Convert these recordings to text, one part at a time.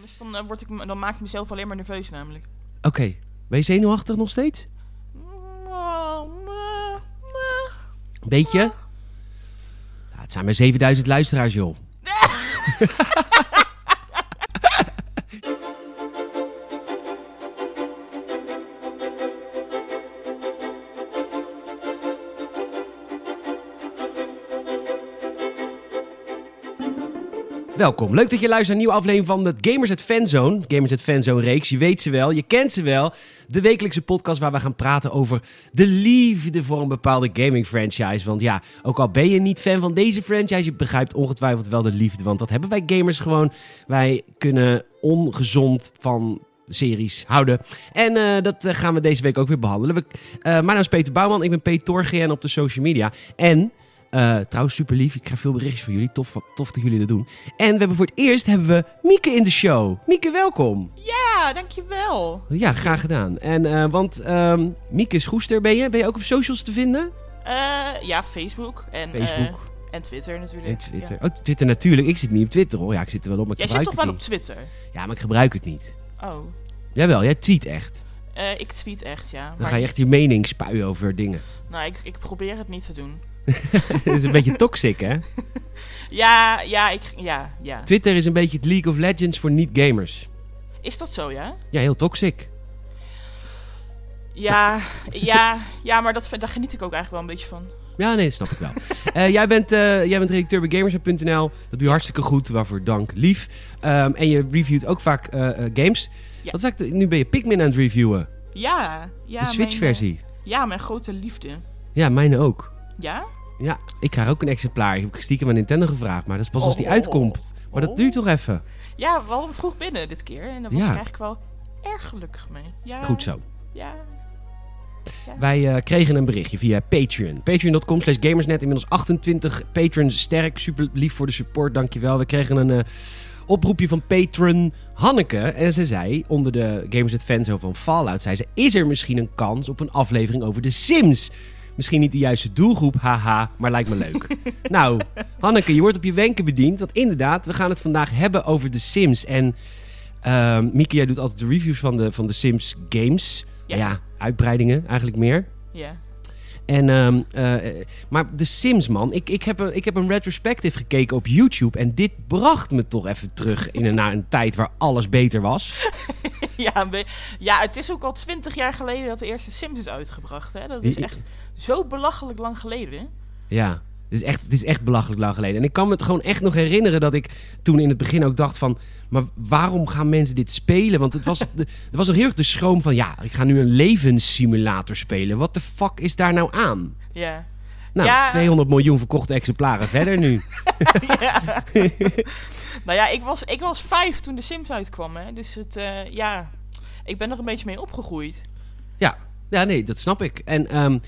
dus dan, eh, word ik, me- dan maak ik mezelf alleen maar nerveus namelijk. Oké, ben je zenuwachtig nog steeds? Wow, eh, eh. Een beetje? Ja, het zijn maar 7000 luisteraars, joh. Welkom. Leuk dat je luistert naar een nieuwe aflevering van het Gamers at Fanzone. Gamers at Fanzone reeks. Je weet ze wel, je kent ze wel. De wekelijkse podcast waar we gaan praten over de liefde voor een bepaalde gaming franchise. Want ja, ook al ben je niet fan van deze franchise, je begrijpt ongetwijfeld wel de liefde. Want dat hebben wij gamers gewoon. Wij kunnen ongezond van series houden. En eh, dat eh, gaan we deze week ook weer behandelen. We, eh, mijn naam is Peter Bouwman. Ik ben Peter Torgien op de social media. En... eh, trouwens, super lief. Ik krijg veel berichtjes van jullie. Tof, tof dat jullie dat doen. En we hebben voor het eerst hebben we Mieke in de show. Mieke, welkom. Ja, dankjewel. Ja, graag gedaan. En, eh, want ehm, Mieke Schoester ben je. Ben je ook op socials te vinden? Eh, ja, Facebook en, eh, Facebook en Twitter natuurlijk. en Twitter. Ja. Oh, Twitter natuurlijk. Ik zit niet op Twitter hoor. Ja, ik zit er wel op, maar ik Jij zit gebruik toch het wel op niet. Twitter? Ja, maar ik gebruik het niet. Oh, Jawel, jij tweet echt. Eh, ik tweet echt, ja. Dan maar ga je echt je mening spuien over dingen. Nou, ik, ik probeer het niet te doen. dat is een beetje toxic, hè? Ja, ja, ik, ja, ja. Twitter is een beetje het League of Legends voor niet-gamers. Is dat zo, ja? Ja, heel toxic. Ja, ja, ja, maar dat, vind- daar geniet ik ook eigenlijk wel een beetje van. Ja, nee, dat snap ik wel. Eh, jij, bent, eh, jij bent redacteur bij Gamers.nl. Dat doe je hartstikke goed, waarvoor dank, lief. Ehm, en je reviewt ook vaak eh, eh, games. Ja. Wat is eigenlijk de- nu ben je Pikmin aan het reviewen. Ja, ja. de Switch-versie. mijn, eh, ja, mijn grote liefde. Ja, mijne ook. Ja? Ja, ik krijg ook een exemplaar. Ik heb stiekem aan Nintendo gevraagd, maar dat is pas als die Oh. uitkomt. Maar dat Oh. duurt toch even. Ja, we hadden vroeg binnen dit keer. En daar was Ja. ik eigenlijk wel erg gelukkig mee. Ja, Goed zo. Ja. Wij eh, kregen een berichtje via Patreon. Patreon.com slash gamersnet. Inmiddels 28 patrons sterk. Super lief voor de support, dankjewel. We kregen een eh, oproepje van patron Hanneke. En ze zei, onder de Gamers at Fans van Fallout, zei ze... Is er misschien een kans op een aflevering over The Sims? Misschien niet de juiste doelgroep, haha, maar lijkt me leuk. nou, Hanneke, je wordt op je wenken bediend. Want inderdaad, we gaan het vandaag hebben over The Sims. En ehm Mieke, jij doet altijd de reviews van de, van de Sims games. Ja. Nou ja, uitbreidingen eigenlijk meer. Ja. En, ehm, eh, eh, maar The Sims, man. Ik, ik, heb een, ik heb een retrospective gekeken op YouTube. En dit bracht me toch even terug in een, naar een tijd waar alles beter was. Ja, een be- ja, het is ook al twintig jaar geleden dat de eerste Sims is uitgebracht. Hè? Dat is Die- echt zo belachelijk lang geleden. Ja, dit is echt, dit is echt belachelijk lang geleden. En ik kan me het gewoon echt nog herinneren dat ik toen in het begin ook dacht van... Maar waarom gaan mensen dit spelen? Want het was, de- er was nog heel erg de schroom van... Ja, ik ga nu een levenssimulator spelen. Wat de fuck is daar nou aan? Ja. Nou, Ja. 200 miljoen verkochte exemplaren verder nu. ja. nou ja, ik was, ik was vijf toen de Sims uitkwam. Hè? Dus het, eh, ja, ik ben er een beetje mee opgegroeid. Ja, ja nee, dat snap ik. En ehm,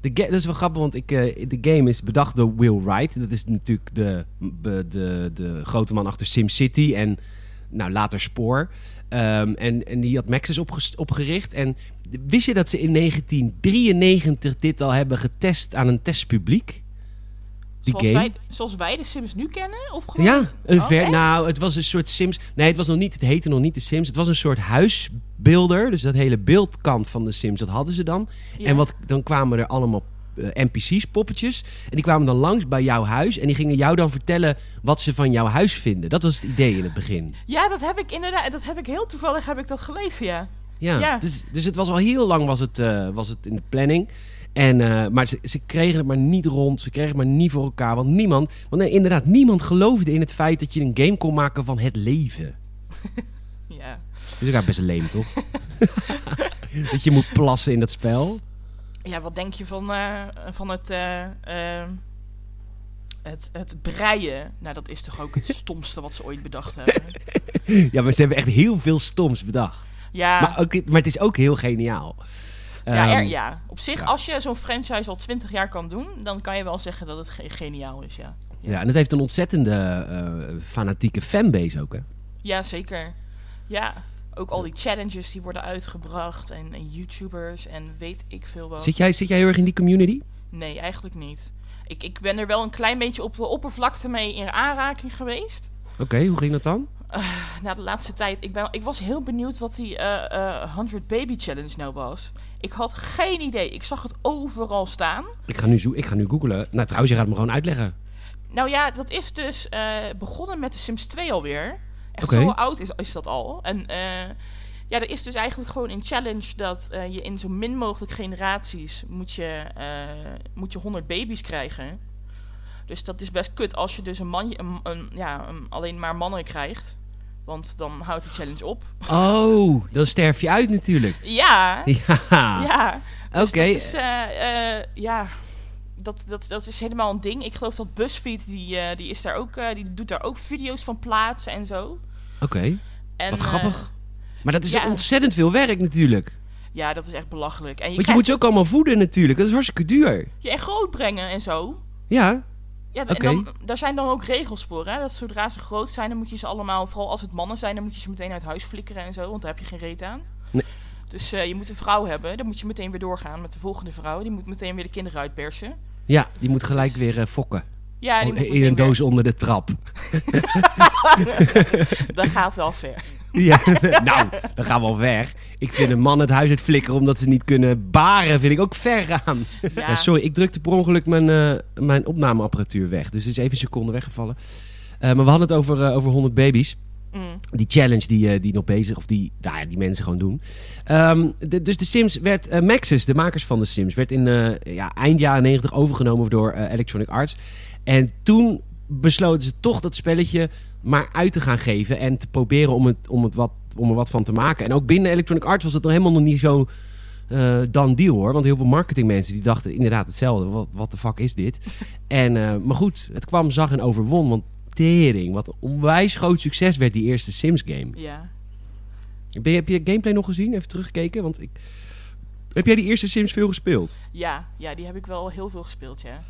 de ga- dat is wel grappig, want ik, eh, de game is bedacht door Will Wright. Dat is natuurlijk de, be- de, de grote man achter SimCity en nou, later Spoor. Ehm, en, en die had Maxis opges- opgericht. En wist je dat ze in 1993 dit al hebben getest aan een testpubliek? Die Zoals game? wij, zoals wij de Sims nu kennen? Of gewoon... Ja, een Oh, ver. echt? Nou, het was een soort Sims. Nee, het was nog niet. Het heette nog niet de Sims. Het was een soort huisbeelder. Dus dat hele beeldkant van de Sims, dat hadden ze dan. Ja. En wat, dan kwamen er allemaal eh, NPC's, poppetjes. En die kwamen dan langs bij jouw huis. En die gingen jou dan vertellen wat ze van jouw huis vinden. Dat was het idee in het begin. Ja, dat heb ik inderdaad. Dat heb ik heel toevallig heb ik dat gelezen, ja. Ja, Ja. Dus, dus het was al heel lang was het, eh, was het in de planning. En, eh, maar ze, ze kregen het maar niet rond. Ze kregen het maar niet voor elkaar. Want niemand, want nee, inderdaad, niemand geloofde in het feit dat je een game kon maken van het leven. Ja, Dat is ook eigenlijk best leem, toch? dat je moet plassen in dat spel. ja wat denk je van, eh, van het, eh, eh, het, het breien? Nou, dat is toch ook het stomste wat ze ooit bedacht hebben. Ja, maar ze hebben echt heel veel stoms bedacht. Ja, Maar, ook, maar het is ook heel geniaal. ja, er- Ehm, ja. op zich, ja. als je zo'n franchise al 20 jaar kan doen, dan kan je wel zeggen dat het ge- geniaal is, ja. ja, en dat heeft een ontzettende eh, fanatieke fanbase ook, hè? Ja, zeker. Ja, ook al die challenges die worden uitgebracht en, en YouTubers en weet ik veel wat. Zit jij, zit jij heel erg in die community? Nee, eigenlijk niet. Ik, ik ben er wel een klein beetje op de oppervlakte mee in aanraking geweest. Oké, hoe ging dat dan? Eh, eh, na de laatste tijd, ik, ben, ik was heel benieuwd wat die eh, eh, 100 Baby Challenge nou was. Ik had geen idee. Ik zag het overal staan. Ik ga nu, zo ik ga nu googlen. Nou, trouwens, je gaat me gewoon uitleggen. Nou ja, dat is dus eh, begonnen met de Sims 2 alweer. Echt Oké. zo oud is, is dat al. En eh, ja, er is dus eigenlijk gewoon een challenge dat eh, je in zo min mogelijk generaties moet je, eh, moet je 100 baby's krijgen. Dus dat is best kut als je dus een man, een, een- ja, een- alleen maar mannen krijgt. Want dan houdt de challenge op. Oh, dan sterf je uit natuurlijk. Ja, Ja, ja. oké. Dus dat is, eh, eh, ja, dat, dat, dat is helemaal een ding. Ik geloof dat BuzzFeed, die, eh, die, is daar ook, eh, die doet daar ook video's van plaatsen en zo. Oké, En, wat eh, grappig. Maar dat is ja. ontzettend veel werk natuurlijk. ja, dat is echt belachelijk. En je, Want je moet krijgt ze ook allemaal voeden natuurlijk. Dat is hartstikke duur. je echt groot brengen en zo. Ja, Ja, Oké. en dan, daar zijn dan ook regels voor, hè. Dat zodra ze groot zijn, dan moet je ze allemaal... Vooral als het mannen zijn, dan moet je ze meteen uit huis flikkeren en zo. Want daar heb je geen reet aan. Nee. Dus eh, je moet een vrouw hebben. Dan moet je meteen weer doorgaan met de volgende vrouw. Die moet meteen weer de kinderen uitpersen. ja die moet gelijk weer eh, fokken. Ja, die Oh, moet in meteen een weer- doos onder de trap. Dat gaat wel ver. Ja, nou, dan gaan we al ver. Ik vind een man het huis uit flikkeren omdat ze niet kunnen baren, vind ik ook ver gaan. Ja. Ja, sorry, ik drukte per ongeluk mijn, eh, mijn opnameapparatuur weg. Dus het is even een seconde weggevallen. Eh, maar we hadden het over, eh, over 100 baby's. Mm. Die challenge die, eh, die nog bezig, of die, nou ja, die mensen gewoon doen. Ehm, de- dus de Sims werd, eh, Maxis, de makers van de Sims, werd in eh, ja, eind jaren 90 overgenomen door eh, Electronic Arts. En toen besloten ze toch dat spelletje maar uit te gaan geven. En te proberen om, het, om, het wat, om er wat van te maken. En ook binnen Electronic Arts was het nog helemaal nog niet zo eh dan deal hoor. Want heel veel marketingmensen die dachten inderdaad hetzelfde. Wat, wat de fuck is dit? en, eh, maar goed, het kwam, zag en overwon. Want tering, wat een onwijs groot succes werd die eerste Sims game. Ja. Ben je, heb je gameplay nog gezien? Even teruggekeken? Want ik... Heb jij die eerste Sims veel gespeeld? Ja, ja, die heb ik wel heel veel gespeeld, ja.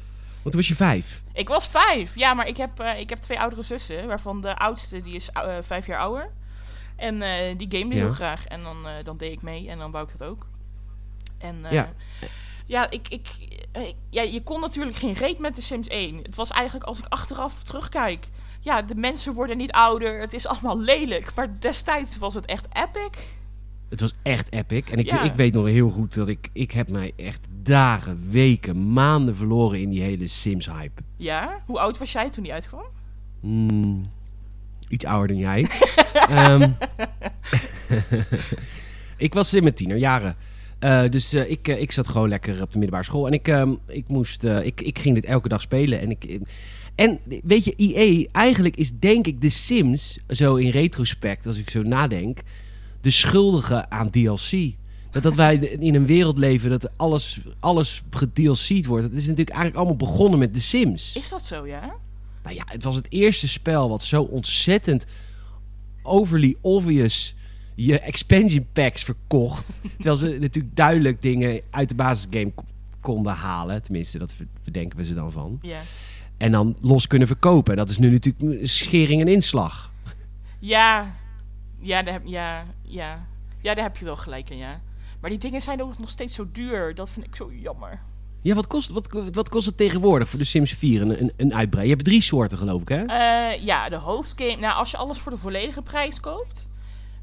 Want toen was je vijf. Ik was vijf, ja, maar ik heb, eh, ik heb twee oudere zussen, waarvan de oudste die is ou- eh, vijf jaar ouder. En eh, die gamede Ja. heel graag en dan, eh, dan deed ik mee en dan wou ik dat ook. En eh, Ja. ja, ik, ik, eh, ik- ja, je kon natuurlijk geen reet met de Sims 1. Het was eigenlijk, als ik achteraf terugkijk, ja, de mensen worden niet ouder, het is allemaal lelijk. Maar destijds was het echt epic. Het was echt epic. En ik, Ja. ik weet nog heel goed dat ik... Ik heb mij echt dagen, weken, maanden verloren in die hele Sims-hype. Ja, hoe oud was jij toen die uitkwam? Mm, iets ouder dan jij. Ehm, ik was in mijn tienerjaren. Eh, dus eh, ik, eh, ik zat gewoon lekker op de middelbare school. En ik, ehm, ik, moest, eh, ik, ik ging dit elke dag spelen. En, ik, eh, en weet je, EA, eigenlijk is denk ik de Sims, zo in retrospect, als ik zo nadenk, de schuldige aan DLC. Dat, dat wij in een wereld leven dat alles, alles gedLC'd wordt. Dat is natuurlijk eigenlijk allemaal begonnen met de Sims. Is dat zo, ja? Nou ja, het was het eerste spel wat zo ontzettend overly obvious je expansion packs verkocht. terwijl ze natuurlijk duidelijk dingen uit de basisgame k- konden halen. Tenminste, dat ver- verdenken we ze dan van. Ja. En dan los kunnen verkopen. En dat is nu natuurlijk m- schering en inslag. Ja, ja, daar heb, ja, ja. ja, daar heb je wel gelijk in, ja. Maar die dingen zijn ook nog steeds zo duur. Dat vind ik zo jammer. Ja, wat kost, wat, ko- wat kost het tegenwoordig voor de Sims 4 een, een, een uitbreiding? Je hebt drie soorten, geloof ik, hè? Eh, ja, de hoofdgame. Nou, als je alles voor de volledige prijs koopt.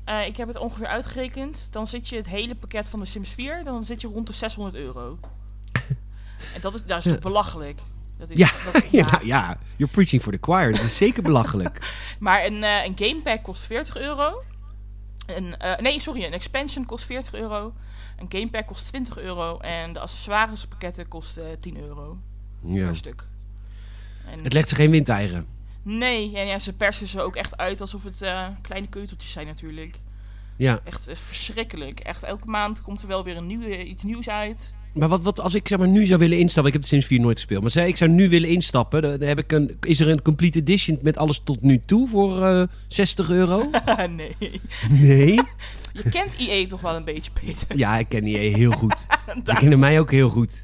eh, ik heb het ongeveer uitgerekend. Dan zit je het hele pakket van de Sims 4. Dan zit je rond de 600 euro. en dat is, dat is toch belachelijk? Dat is, Ja, dat- ja. nou ja, you're preaching for the choir. Dat is zeker belachelijk. Maar een, eh, een gamepack kost 40 euro. Een, eh, nee, sorry, een expansion kost 40 euro. Een gamepack kost 20 euro. En de accessoirespakketten kosten eh, 10 euro Ja. per stuk. En Het legt ze geen windeieren. nee, en ja, ze persen ze ook echt uit alsof het eh, kleine keuteltjes zijn natuurlijk. Ja. Echt eh, verschrikkelijk. Echt elke maand komt er wel weer een nieuwe, eh, iets nieuws uit. Maar wat, wat als ik zeg maar, nu zou willen instappen? Ik heb de Sims 4 nooit gespeeld. Maar zeg, ik zou nu willen instappen. Dan dan heb ik een, is er een complete edition met alles tot nu toe voor eh, 60 euro? Haha, nee. Nee. Je kent IE toch wel een beetje, Peter? Ja, ik ken die heel goed. Die kennen mij ook heel goed.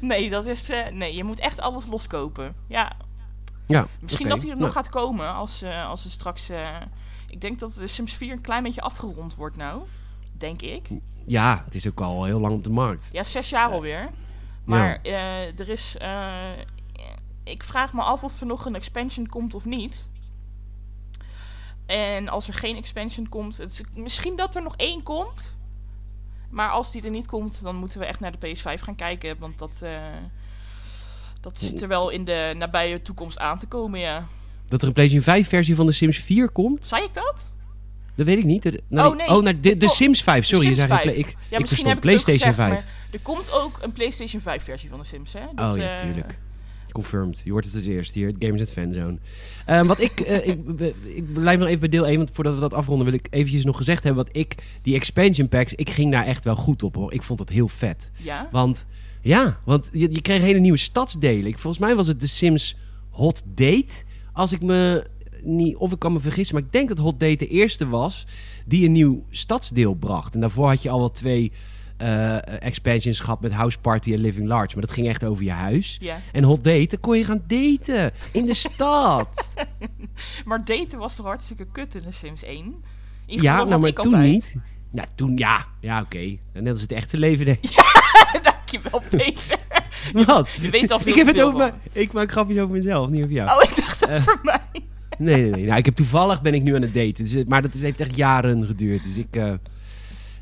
Nee, dat is... eh, nee, je moet echt alles loskopen. Ja, Ja, Misschien oké. Nou, dat hij er nog gaat komen als, eh, als er straks. eh, ik denk dat de Sims 4 een klein beetje afgerond wordt nou. Denk ik. Nou, Ja, het is ook al heel lang op de markt. Ja, zes jaar alweer. Maar eh, er is. eh, ik vraag me af of er nog een expansion komt of niet. En als er geen expansion komt, het is- misschien dat er nog één komt. Maar als die er niet komt, dan moeten we echt naar de PS5 gaan kijken. Want dat, eh, dat zit er wel in de nabije toekomst aan te komen, ja. Dat er een PlayStation 5 versie van The Sims 4 komt? Zei ik dat? Dat weet ik niet. De, nou, Oh, nee. oh, naar de, de Oh, Sims 5. Sorry, De je Sims zei geen 5. Play- ik, Ja, ik misschien verstond heb ik het ook PlayStation gezegd, 5. maar er komt ook een PlayStation 5 versie van de Sims, hè? oh ja, eh, tuurlijk. Confirmed. Je hoort het als eerst hier. Het Games at Fanzone. Ehm, wat ik, eh, ik, ik blijf nog even bij deel 1, want voordat we dat afronden wil ik eventjes nog gezegd hebben wat ik, die expansion packs, ik ging daar echt wel goed op hoor. Ik vond dat heel vet. ja. Want ja, want je, je kreeg hele nieuwe stadsdelen. Ik, volgens mij was het The Sims Hot Date. Als ik me niet, of ik kan me vergissen, maar ik denk dat Hot Date de eerste was die een nieuw stadsdeel bracht. En daarvoor had je al wel twee eh, expansions gehad met House Party en Living Large. Maar dat ging echt over je huis. ja. En hot daten dan kon je gaan daten in de stad. Maar daten was toch hartstikke kut in de Sims 1? In ieder geval ja, had nou, maar ik toen altijd. niet. Ja, toen ja. Ja, oké. Net als het echte leven, denk ik. Dankjewel, Peter. Wat? Je weet al veel Ik heb te het veel over van mijn- Ik maak grapjes over mezelf, niet over jou. Oh, ik dacht Eh. dat voor mij. Nee, nee, nee. Nou, ik heb toevallig ben ik nu aan het daten. Dus, eh, maar dat is, heeft echt jaren geduurd. Dus ik, eh,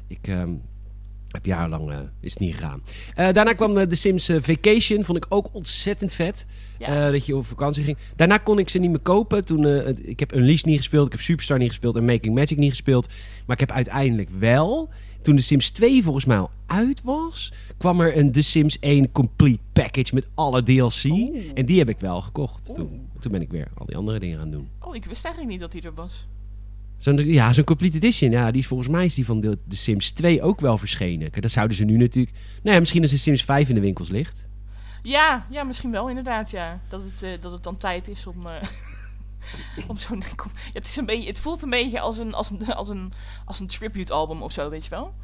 ik ehm, heb jarenlang eh, is het niet gegaan. Eh, daarna kwam eh, The Sims eh, Vacation. Vond ik ook ontzettend vet. Ja. Eh, dat je op vakantie ging. Daarna kon ik ze niet meer kopen. Toen, eh, het- ik heb Unleashed niet gespeeld. Ik heb Superstar niet gespeeld. En Making Magic niet gespeeld. Maar ik heb uiteindelijk wel... Toen The Sims 2 volgens mij al uit was... kwam er een The Sims 1 Complete Package met alle DLC. Oeh. En die heb ik wel gekocht. Oh. Oeh. Toen, toen ben ik weer al die andere dingen gaan doen. Oh, ik wist eigenlijk niet dat hij er was. Zo'n, ja, zo'n complete edition. Ja, die is volgens mij is die van de, de Sims 2 ook wel verschenen. Kijk, Dat zouden ze nu natuurlijk... Nou ja, misschien als de Sims 5 in de winkels ligt. Ja, ja misschien wel inderdaad, ja. Dat het, eh, dat het dan tijd is om... eh, om zo'n... kom- ja, het, is een beetje, het voelt een beetje als een, als een, als een, als een tribute-album of zo, weet je wel?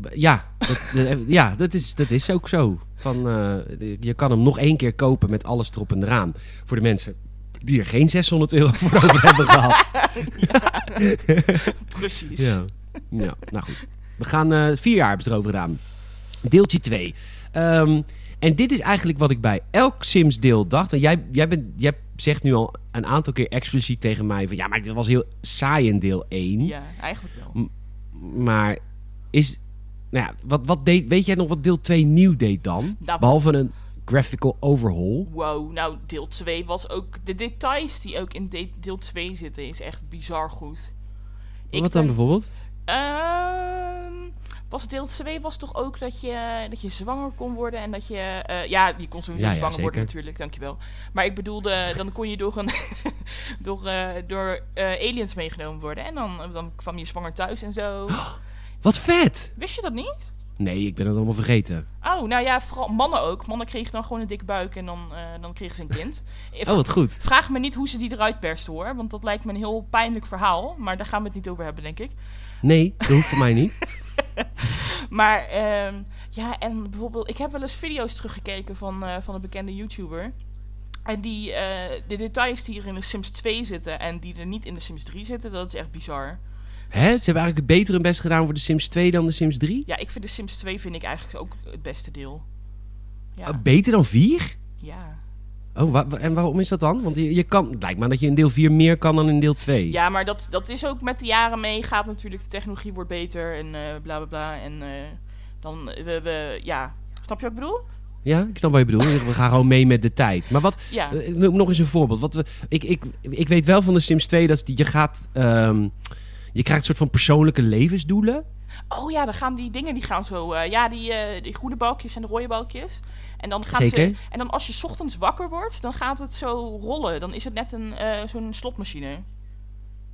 B- Ja, dat, eh, ja, dat, is, dat is ook zo. Van, eh, de- je kan hem nog één keer kopen met alles erop en eraan. Voor de mensen die er geen 600 euro voor over hebben gehad. Precies. Ja. ja, nou goed. We gaan eh, vier jaar hebben ze erover gedaan. Deeltje 2. en dit is eigenlijk wat ik bij elk Sims-deel dacht. Want jij, jij, bent, jij zegt nu al een aantal keer expliciet tegen mij... van ja, maar dit was heel saai in deel 1. Ja, eigenlijk wel. Maar is... Nou ja, wat, wat deed, weet jij nog wat deel 2 nieuw deed dan? Nou, Behalve een graphical overhaul. Wow, nou, deel 2 was ook... De details die ook in de- deel 2 zitten is echt bizar goed. Ik wat dan ben- bijvoorbeeld? Ehm, was deel 2 was toch ook dat je, dat je zwanger kon worden en dat je... eh, ja, je kon sowieso Ja, ja, zwanger worden zeker. natuurlijk, dankjewel. Maar ik bedoelde, dan kon je door, een, door, eh, door eh, aliens meegenomen worden en dan, dan kwam je zwanger thuis en zo. Wat vet! Wist je dat niet? Nee, ik ben het allemaal vergeten. Oh, nou ja, vooral mannen ook. Mannen kregen dan gewoon een dikke buik en dan, eh, dan kregen ze een kind. Eh, Oh, wat goed. Vraag me niet hoe ze die eruit persten hoor, want dat lijkt me een heel pijnlijk verhaal. Maar daar gaan we het niet over hebben, denk ik. Nee, dat hoeft voor mij niet. Maar ehm, ja, en bijvoorbeeld, ik heb wel eens video's teruggekeken van, eh, van een bekende YouTuber. En die, eh, de details die hier in de Sims 2 zitten en die er niet in de Sims 3 zitten, dat is echt bizar. Hè? Ze hebben eigenlijk het beter hun best gedaan voor de Sims 2 dan de Sims 3? Ja, ik vind de Sims 2 vind ik eigenlijk ook het beste deel. Ja, Eh, beter dan 4? ja. Oh, wa- wa- en waarom is dat dan? Want je, je kan, het lijkt me dat je in deel 4 meer kan dan in deel 2. ja maar dat, dat is ook met de jaren mee. Gaat natuurlijk, de technologie wordt beter en eh bla bla bla. En eh, dan, eh, we, we, ja. Snap je wat ik bedoel? Ja, ik snap wat je bedoelt. We gaan gewoon mee met de tijd. Maar wat, Ja. eh, noem nog eens een voorbeeld. Wat we, ik, ik, ik weet wel van de Sims 2 dat die- je gaat, ehm, je krijgt een soort van persoonlijke levensdoelen. Oh ja, dan gaan die dingen die gaan zo. eh, ja, die, eh, die groene balkjes en de rode balkjes. En dan gaan Zeker. ze. En dan als je 's ochtends wakker wordt, dan gaat het zo rollen. Dan is het net een eh, zo'n slotmachine.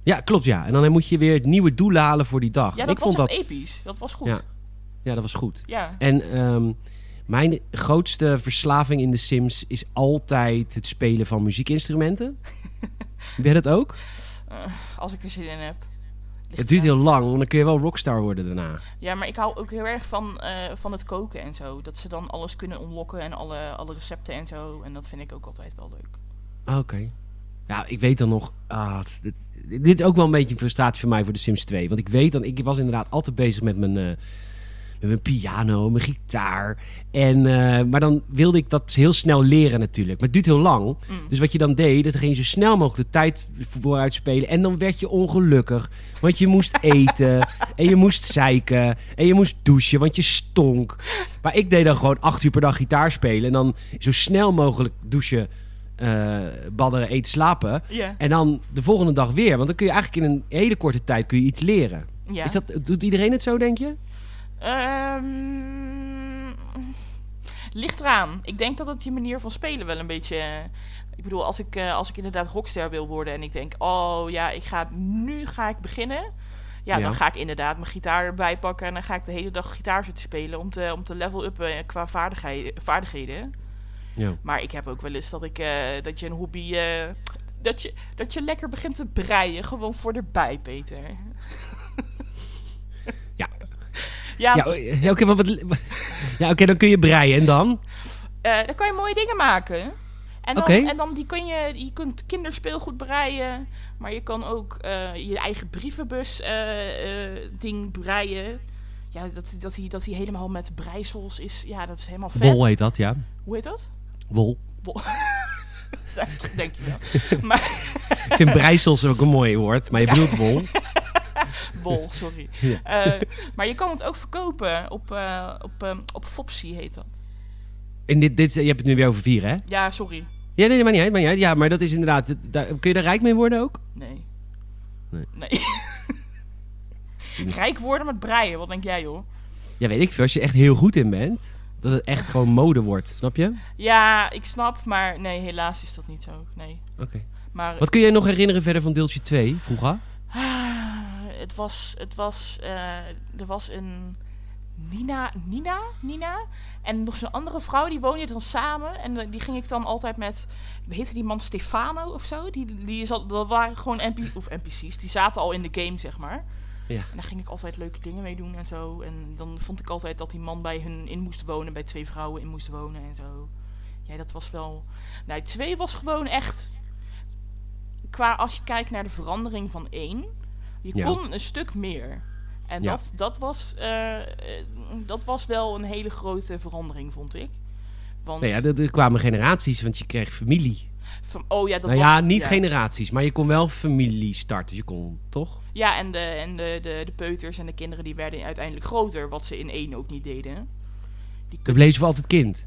Ja, klopt ja. En dan moet je weer nieuwe doelen halen voor die dag. Ja, dat ik was e- vond dat, echt episch. Dat was goed. Ja. Ja. ja, dat was goed. Ja. En ehm, mijn grootste verslaving in de Sims is altijd het spelen van muziekinstrumenten. Heb jij dat ook? Eh, als ik er zin in heb. Ligt Het duurt eraan. heel lang, want dan kun je wel rockstar worden daarna. Ja, maar ik hou ook heel erg van, eh, van het koken en zo. Dat ze dan alles kunnen ontlokken en alle, alle recepten en zo. En dat vind ik ook altijd wel leuk. Ah, Oké. Ja, ik weet dan nog... ah, dit, dit is ook wel een beetje een frustratie voor mij voor de Sims 2. Want ik weet dan... Ik was inderdaad altijd bezig met mijn... eh, mijn piano, mijn gitaar. En, eh, maar dan wilde ik dat heel snel leren natuurlijk. Maar het duurt heel lang. Dus wat je dan deed, dat ging je zo snel mogelijk de tijd vooruit spelen. En dan werd je ongelukkig. Want je moest eten. en je moest zeiken. En je moest douchen, want je stonk. Maar ik deed dan gewoon acht uur per dag gitaar spelen. En dan zo snel mogelijk douchen, eh, badderen, eten, slapen. Ja. En dan de volgende dag weer. Want dan kun je eigenlijk in een hele korte tijd kun je iets leren. ja. Is dat, doet iedereen het zo, denk je? Ehm, ligt eraan. Ik denk dat het je manier van spelen wel een beetje. eh, Ik bedoel, als ik, eh, als ik inderdaad rockster wil worden en ik denk, oh ja, ik ga, nu ga ik beginnen. Ja, Ja. dan ga ik inderdaad mijn gitaar erbij pakken en dan ga ik de hele dag gitaar zitten spelen om te, om te level uppen qua vaardigheid, vaardigheden. Ja. Maar ik heb ook wel eens dat, ik, eh, dat je een hobby. eh, dat, je, dat je lekker begint te breien, gewoon voor erbij, Peter. Ja. Ja, Ja, eh, oké, wat- wat- ja, oké, dan kun je breien. En dan? Eh, dan kan je mooie dingen maken. En dan, Oké. en dan die kun je, je kunt kinderspeelgoed breien, maar je kan ook eh, je eigen brievenbus eh, eh, ding breien. Ja, dat, dat, hij, dat hij helemaal met breisels is, ja, dat is helemaal vet. Wol heet dat, ja. Hoe heet dat? Wol. Wol. Denk je wel. Maar, Ik vind breisels ook een mooi woord, maar je bedoelt wol. wol, sorry. Ja. Eh, maar je kan het ook verkopen op, eh op, ehm, op Fopsy heet dat. En dit, dit, is- je hebt het nu weer over vier, hè? Ja, sorry. Ja, nee, maar niet uit, maakt niet uit. Ja, maar dat is inderdaad... het- daar- kun je daar rijk mee worden ook? Nee. Nee. Rijk worden met breien, wat denk jij joh? Ja, weet ik veel. Als je echt heel goed in bent, dat het echt gewoon mode wordt. Snap je? Ja, ik snap, maar nee, helaas is dat niet zo. Nee. Oké. Maar Wat kun jij nog herinneren verder van deeltje 2, vroeger? ah, het was, het was, eh, er was een Nina, Nina, Nina en nog zo'n andere vrouw, die woonde dan samen en eh, die ging ik dan altijd met, heette die man Stefano of zo? Die, die is al, dat waren gewoon NP, of NPC's, die zaten al in de game, zeg maar. Ja. En daar ging ik altijd leuke dingen mee doen en zo. En dan vond ik altijd dat die man bij hun in moest wonen, bij twee vrouwen in moest wonen en zo. Ja, dat was wel. Nee, twee was gewoon echt. Qua als je kijkt naar de verandering van één, je Ja. kon een stuk meer. En Ja. dat, dat, was, eh, eh, dat was wel een hele grote verandering, vond ik. Want, Nou ja, er, er kwamen generaties, want je kreeg familie. van, oh ja, dat nou was, ja, niet generaties, maar je kon wel familie starten. Je kon, toch? Ja, en, de, en de, de, de peuters en de kinderen die werden uiteindelijk groter, wat ze in één ook niet deden. Dan bleef je voor altijd kind.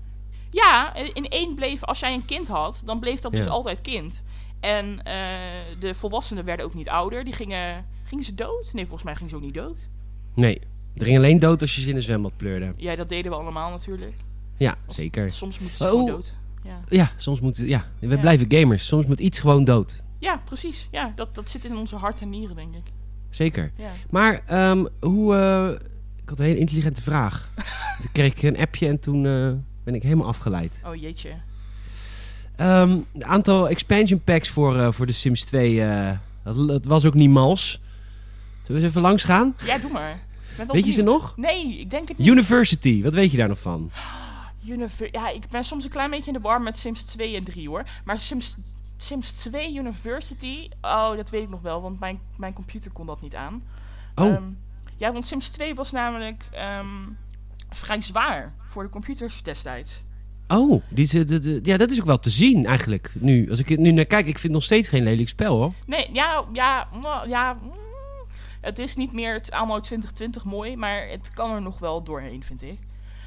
Ja, in één bleef, als jij een kind had, dan bleef dat Ja. dus altijd kind. En eh, de volwassenen werden ook niet ouder. Die gingen, gingen ze dood? Nee, volgens mij gingen ze ook niet dood. Nee, er ging alleen dood als je ze in een zwembad pleurde. Ja, dat deden we allemaal natuurlijk. Ja, Als- zeker. Soms moeten ze Oh. gewoon dood. Ja. Ja, soms moeten... Ja, we Ja. blijven gamers. Soms moet iets gewoon dood. ja, precies. Ja, dat, dat zit in onze hart en nieren, denk ik. Zeker. Ja. Maar ehm, hoe... eh, ik had een hele intelligente vraag. toen kreeg ik een appje en toen eh, ben ik helemaal afgeleid. Oh jeetje. Ehm, Het aantal expansion packs voor, eh, voor de Sims 2... eh, dat, dat was ook niet mals. Zullen we eens even langs gaan? Ja, doe maar. Ik ben wel Weet je ze benieuwd. nog? Nee, ik denk het niet. University, wat weet je daar nog van? Univer- ja, ik ben soms een klein beetje in de war met Sims 2 en 3 hoor. Maar Sims, Sims 2 University, oh dat weet ik nog wel, want mijn, mijn computer kon dat niet aan. Oh, Ehm, ja, want Sims 2 was namelijk ehm, vrij zwaar voor de computers destijds. oh die, ze- de- de- ja, dat is ook wel te zien eigenlijk nu. Als ik er nu naar kijk, ik vind het nog steeds geen lelijk spel hoor. Nee, ja, ja, mwah, ja. mm, Het is niet meer het anno 2020 mooi, maar het kan er nog wel doorheen, vind ik.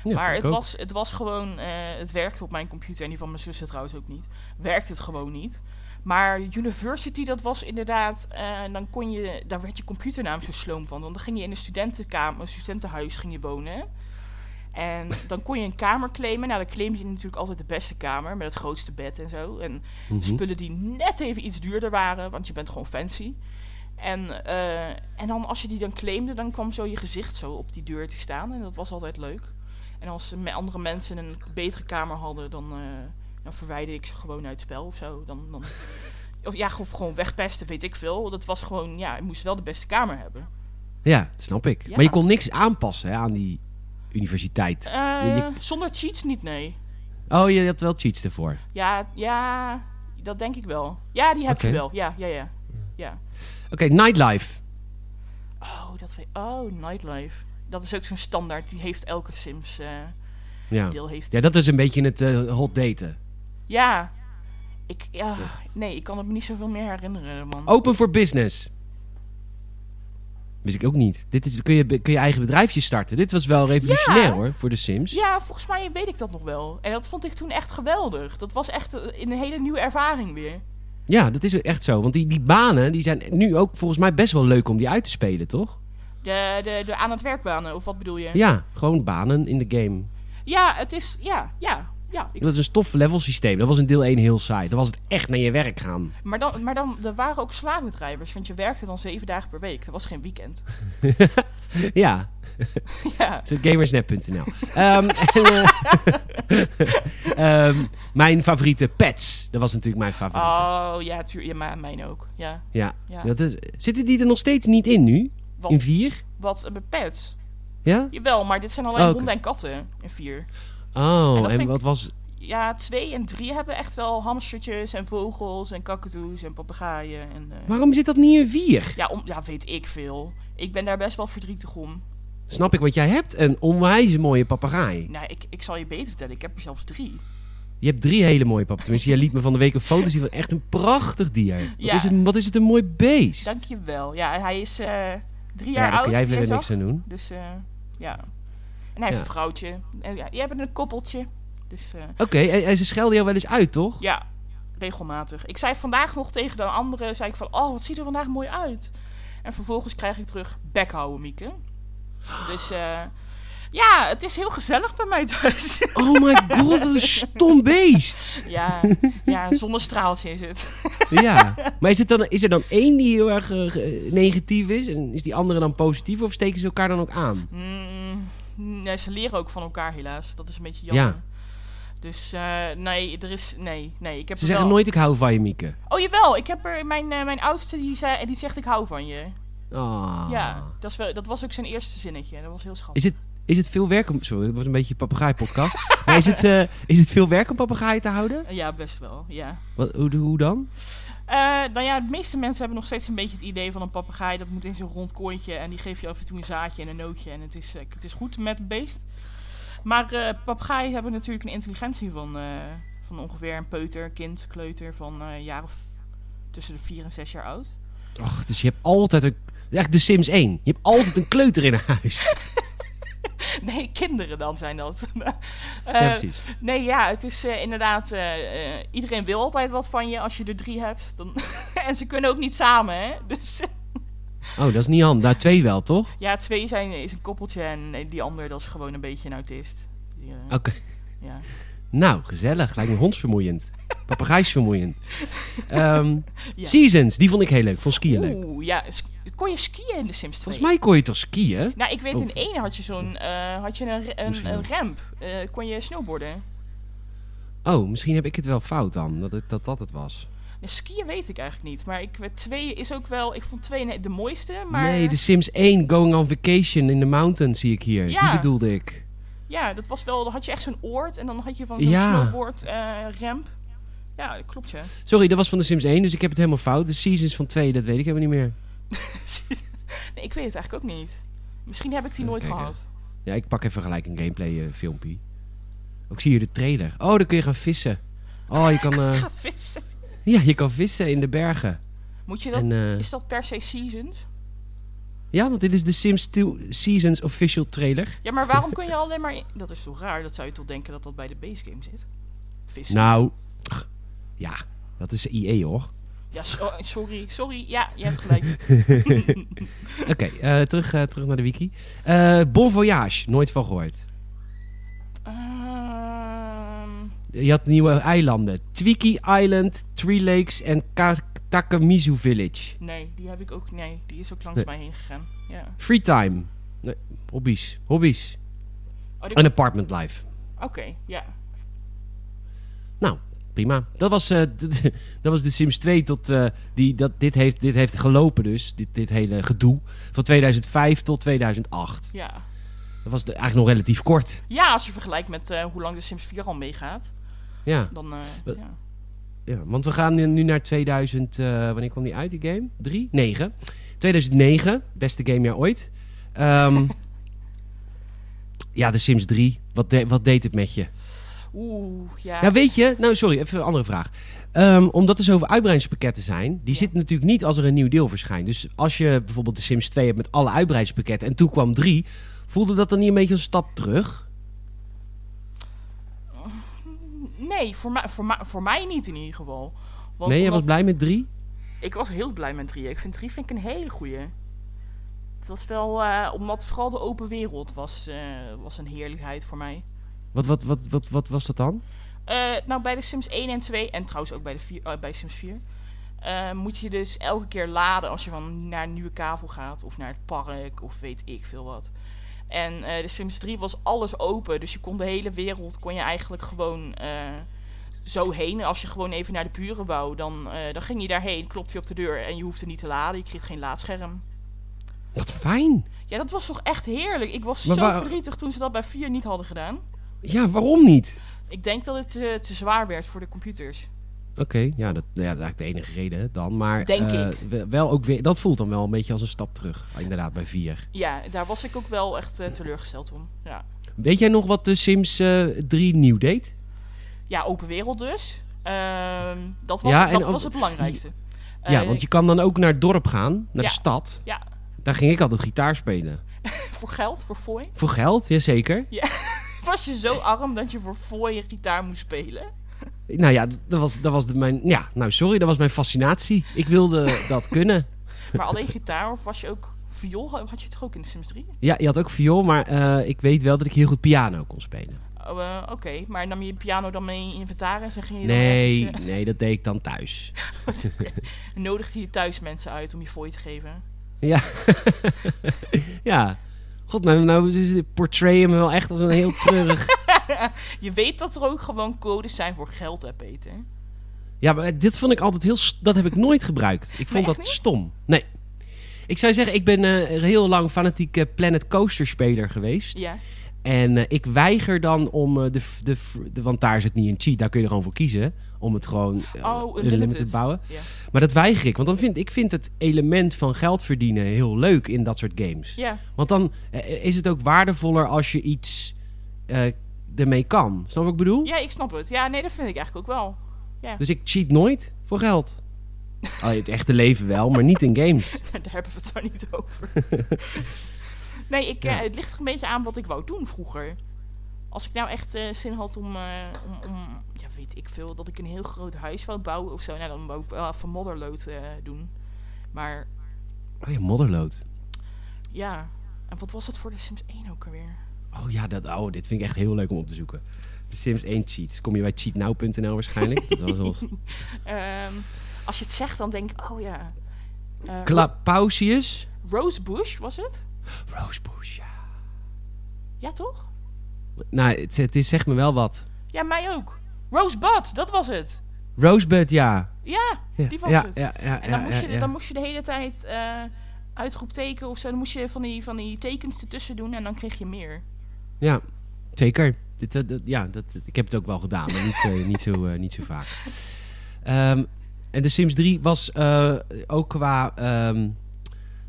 Ja, maar vind ik het ook. was, het was gewoon, eh, het werkte op mijn computer en die van mijn zussen trouwens ook niet. Werkte het gewoon niet. Maar university, dat was inderdaad, eh, dan kon je, daar werd je computernaam zo sloom van. Want dan ging je in een studentenkamer, een studentenhuis ging je wonen. En dan kon je een kamer claimen. Nou, dan claim je natuurlijk altijd de beste kamer met het grootste bed en zo. En Mhm. spullen die net even iets duurder waren, want je bent gewoon fancy. En, eh, en dan als je die dan claimde, dan kwam zo je gezicht zo op die deur te staan. En dat was altijd leuk. En als ze met andere mensen een betere kamer hadden, dan, eh, dan verwijderde ik ze gewoon uit het spel of zo. Dan, dan, of ja, of gewoon wegpesten, weet ik veel. Dat was gewoon, ja, je moest wel de beste kamer hebben. Ja, dat snap ik. Ja. Maar je kon niks aanpassen hè, aan die universiteit. Eh, Je- Zonder cheats niet, nee. Oh, je had wel cheats ervoor. Ja, ja, dat denk ik wel. Ja, die heb je Oké. wel. Ja, ja, ja. ja. Oké, nightlife. Oh, dat weet Oh, nightlife. dat is ook zo'n standaard. Die heeft elke Sims eh, Ja. deel. Heeft. ja, dat is een beetje het eh, hot daten. Ja. Ik, ja, nee, ik kan het me niet zoveel meer herinneren, man. Open for business. Wist ik ook niet. Dit is, kun, je, kun je eigen bedrijfje starten. Dit was wel revolutionair Ja. hoor, voor de Sims. Ja, volgens mij weet ik dat nog wel. En dat vond ik toen echt geweldig. Dat was echt eh, een hele nieuwe ervaring weer. Ja, dat is echt zo. Want die, die banen die zijn nu ook volgens mij best wel leuk om die uit te spelen, toch? De, de, de aan het werkbanen, of wat bedoel je? Ja, gewoon banen in de game. Ja, het is. Ja, ja, ja. Ik- Dat is een stof level systeem. Dat was in deel 1 heel saai. Dan was het echt naar je werk gaan. maar dan, maar dan er waren ook slavendrijvers, want je werkte dan zeven dagen per week. Dat was geen weekend. Ja, ja. zo gamersnet.nl. Ehm, en, eh, ehm, mijn favoriete pets. Dat was natuurlijk mijn favoriete. Oh ja, tuur, ja, maar mijn ook. Ja. ja. ja. Dat is, zitten die er nog steeds niet in nu? Wat? In 4? Wat een pet. Ja? Jawel, maar dit zijn alleen Oh, oké. honden en katten in vier. En dat Oh, en, vind ik- wat was... Ja, twee en drie hebben echt wel hamstertjes en vogels en kakatoes en papegaaien. En, eh, Waarom zit dat niet in 4? ja, om, ja, weet ik veel. Ik ben daar best wel verdrietig om. Snap ik, want jij hebt een onwijs mooie papegaai. Nou, ik, ik zal je beter vertellen, ik heb er zelfs drie. Je hebt drie hele mooie pappen. Tenminste, jij liet me van de week een foto zien van echt een prachtig dier. Wat, Ja. is, het, wat is het een mooi beest. Dankjewel. Ja, hij is eh, drie ja, jaar daar oud. kun jij die verder is niks af. aan doen. Dus eh, ja. En hij heeft Ja. een vrouwtje. En ja, die hebben een koppeltje. Dus eh, Oké, en, en ze schelden jou wel eens uit, toch? ja, regelmatig. Ik zei vandaag nog tegen de anderen, zei ik van, oh, wat ziet er vandaag mooi uit. En vervolgens krijg ik terug, bek houden, Mieke. Dus eh, ja, het is heel gezellig bij mij thuis. Oh my god, wat een stom beest. ja, ja, zonnestraaltje is het. Ja. Maar is, het dan, is er dan één die heel erg eh, ge- negatief is? En is die andere dan positief? Of steken ze elkaar dan ook aan? Mm, nee, ze leren ook van elkaar helaas. Dat is een beetje jammer. Ja. Dus eh, nee, er is... Nee, nee. Ik heb Ze er wel- zeggen nooit ik hou van je, Mieke. Oh jawel, ik heb er... Mijn, eh, mijn oudste die, zei, die zegt ik hou van je. Ah. Ja, dat, is wel, dat was ook zijn eerste zinnetje. Dat was heel schattig. Is het, is het veel werk om... Sorry, het was een beetje een papegaai-podcast. maar is het, eh, is het veel werk om papegaaien te houden? Ja, best wel, ja. Wat, hoe, hoe dan? Eh, nou ja, de meeste mensen hebben nog steeds een beetje het idee van een papegaai. Dat moet in zo'n rond kooitje en die geef je af en toe een zaadje en een nootje. En het is, eh, het is goed met het beest. Maar eh papegaaien hebben natuurlijk een intelligentie van, eh, van ongeveer een peuter, kind, kleuter van eh jaar of tussen de 4 en 6 jaar oud. Och, dus je hebt altijd een... Echt de Sims 1. Je hebt altijd een kleuter in huis. Nee, kinderen dan zijn dat. Eh, ja, precies. nee, ja, het is eh, inderdaad. eh, eh, iedereen wil altijd wat van je als je er drie hebt. Dan en ze kunnen ook niet samen, hè? Dus Oh, dat is niet handig. Nou, twee wel, toch? Ja, twee zijn, is een koppeltje en eh, die ander dat is gewoon een beetje een autist. Die, eh, Oké. ja. Nou, gezellig. Lijkt me hondsvermoeiend. Papagaaisvermoeiend. Ehm, Ja. Seasons, die vond ik heel leuk. Vond skiën leuk. Oeh, ja. sk- Kon je skiën in de Sims 2? Volgens mij kon je toch skiën? Nou, ik weet Oh. in één had je zo'n, eh, had je een, re- een, Misschien een wel. ramp. Eh, kon je snowboarden? Oh, misschien heb ik het wel fout dan. Dat het, dat, dat het was. Nou, skiën weet ik eigenlijk niet, maar ik weet twee is ook wel, ik vond twee ne- de mooiste, maar Nee, de Sims 1, Going on Vacation in the Mountain zie ik hier. Ja. Die bedoelde ik. ja, dat was wel, dan had je echt zo'n oord en dan had je van zo'n Ja. snowboard eh, ramp. Ja, dat klopt ja. Sorry, dat was van de Sims 1, dus ik heb het helemaal fout. De Seasons van 2, dat weet ik helemaal niet meer. nee, ik weet het eigenlijk ook niet. Misschien heb ik die Even nooit kijken. gehad. Ja, ik pak even gelijk een gameplay eh, filmpje. Ook zie je de trailer. Oh, dan kun je gaan vissen. Oh, je kan, eh, Ga vissen. ja, je kan vissen in de bergen. Moet je dat, En, eh, is dat per se seasons? ja, want dit is de Sims 2 Seasons official trailer. Ja, maar waarom kun je alleen maar... in- Dat is toch raar? Dat zou je toch denken dat dat bij de base game zit? Vissen. Nou, pff, ja, dat is IE hoor. Ja, so- oh, sorry, sorry. Ja, je hebt gelijk. Oké, eh, terug, eh, terug naar de wiki. Eh, bon Voyage, nooit van gehoord. Ehm, Je had nieuwe eilanden. Twiki Island, Three Lakes en Ka- Takamizu Village. nee, die heb ik ook... Nee, die is ook langs Nee. mij heen gegaan. Ja. Free Time. Nee, hobby's. Hobby's. Oh, die- En Apartment Life. Oké, ja. Nou, prima. Dat was, eh, d- d- dat was de Sims 2 tot... eh, die, dat, dit, heeft, dit heeft gelopen dus, dit, dit hele gedoe. Van 2005 tot 2008. Ja. Dat was de, eigenlijk nog relatief kort. ja, als je vergelijkt met eh, hoe lang de Sims 4 al meegaat, Ja, dan... eh, Wat? ja. ja want we gaan nu- nu naar 2000... eh, wanneer kwam die uit, die game? 3? 9. 2009, beste gamejaar ooit. Ehm, ja, The Sims 3. Wat, de- wat deed het met je? Oeh, ja. Nou, weet je... Nou, sorry, even een andere vraag. Ehm, omdat er zoveel uitbreidingspakketten zijn... die Ja. zitten natuurlijk niet als er een nieuw deel verschijnt. Dus als je bijvoorbeeld The Sims 2 hebt met alle uitbreidingspakketten... en toen kwam 3... voelde dat dan niet een beetje een stap terug? Nee, voor, mij- voor, mij- voor mij niet in ieder geval. Want nee, jij was omdat- blij met 3? Ik was heel blij met 3. Ik vind 3 vind ik een hele goeie. Het was wel, eh, omdat vooral de open wereld was, eh, was een heerlijkheid voor mij. Wat, wat, wat, wat, wat was dat dan? Eh, nou, bij de Sims 1 en 2, en trouwens ook bij, de vier, eh, bij Sims 4, eh, moet je dus elke keer laden als je van naar een nieuwe kavel gaat, of naar het park, of weet ik veel wat. En eh, de Sims 3 was alles open, dus je kon de hele wereld, kon je eigenlijk gewoon eh, zo heen. Als je gewoon even naar de buren wou, dan, eh, dan ging je daarheen, klopte je op de deur en je hoefde niet te laden, je kreeg geen laadscherm. Wat fijn! Ja, dat was toch echt heerlijk. Ik was Maar zo waar- verdrietig toen ze dat bij 4 niet hadden gedaan. Ja, waarom niet? Ik denk dat het eh, te zwaar werd voor de computers. Oké, ja, dat, nou ja, dat is eigenlijk de enige reden dan. Maar Denk eh, ik. we- Wel ook weer, dat voelt dan wel een beetje als een stap terug. Inderdaad, bij 4. Ja, daar was ik ook wel echt eh, teleurgesteld om. Ja. Weet jij nog wat de Sims eh, 3 nieuw deed? ja, open wereld dus. Ehm, dat was, Ja, het, dat en ook- was het belangrijkste. ja, Eh, want je kan dan ook naar het dorp gaan, naar Ja. de stad. Ja. Daar ging ik altijd gitaar spelen. Voor geld, voor fooi. Voor geld, jazeker. Was je zo arm dat je voor fooi je gitaar moest spelen? Nou ja, d- dat was, dat was de, mijn... Ja, nou sorry, dat was mijn fascinatie. Ik wilde dat kunnen. Maar alleen gitaar of was je ook viool? Had je toch ook in de Sims 3? Ja, je had ook viool, maar eh, ik weet wel dat ik heel goed piano kon spelen. Oh, eh, Oké, maar nam je je piano dan mee in je inventaris en ging je dan Nee, ergens, nee, dat deed ik dan thuis. eh, nodigde je thuis mensen uit om je fooi te geven? Ja. ja. God, nou, nou is- portrayen me wel echt als een heel treurig... Je weet dat er ook gewoon codes zijn voor geld, hè Peter? Ja, maar dit vond ik altijd heel... st- Dat heb ik nooit gebruikt. Ik vond echt dat niet? stom. Nee. Ik zou zeggen, ik ben eh, heel lang fanatiek eh, Planet Coaster speler geweest. Ja, En eh, ik weiger dan om eh, de, f- de, f- de... Want daar is het niet een cheat, daar kun je er gewoon voor kiezen. Om het gewoon eh, Oh, unlimited te unlimited. bouwen. ja. Maar dat weiger ik. Want dan vind, ik vind het element van geld verdienen heel leuk in dat soort games. ja. Want dan eh, is het ook waardevoller als je iets eh, ermee kan. Snap je wat ik bedoel? ja, ik snap het. Ja, nee, dat vind ik eigenlijk ook wel. Dus ik cheat nooit voor geld. Oh, in het echte leven wel, maar niet in games. Daar hebben we het zo niet over. nee, ik, eh, Ja. het ligt er een beetje aan wat ik wou doen vroeger. Als ik nou echt eh, zin had om, eh, om, om, ja weet ik veel, dat ik een heel groot huis wou bouwen of zo, nou dan wou ik wel even modderlood eh, doen. Maar Oh ja, modderlood. ja, en wat was dat voor de Sims 1 ook alweer? Oh ja, dat, oh, dit vind ik echt heel leuk om op te zoeken. De Sims 1 cheats. Kom je bij cheatnow.nl waarschijnlijk? Dat was ons. Ehm, als je het zegt, dan denk ik, oh ja. Eh, Kla- Pausius. Rose Bush was het? Rosebush, ja. Ja, toch? Nou, het, het is, zeg me wel wat. Ja, mij ook. Rosebud, dat was het. Rosebud, ja. Ja, ja die was ja, het. Ja, ja, En dan, ja, moest je, ja. dan moest je de hele tijd eh uitroepteken of zo. Dan moest je van die, van die tekens ertussen doen en dan kreeg je meer. Ja, zeker. Dit, eh, dat- ja, dat, ik heb het ook wel gedaan, maar niet, eh, niet, zo, eh, niet zo vaak. Ehm, en de Sims 3 was eh, ook qua, ehm,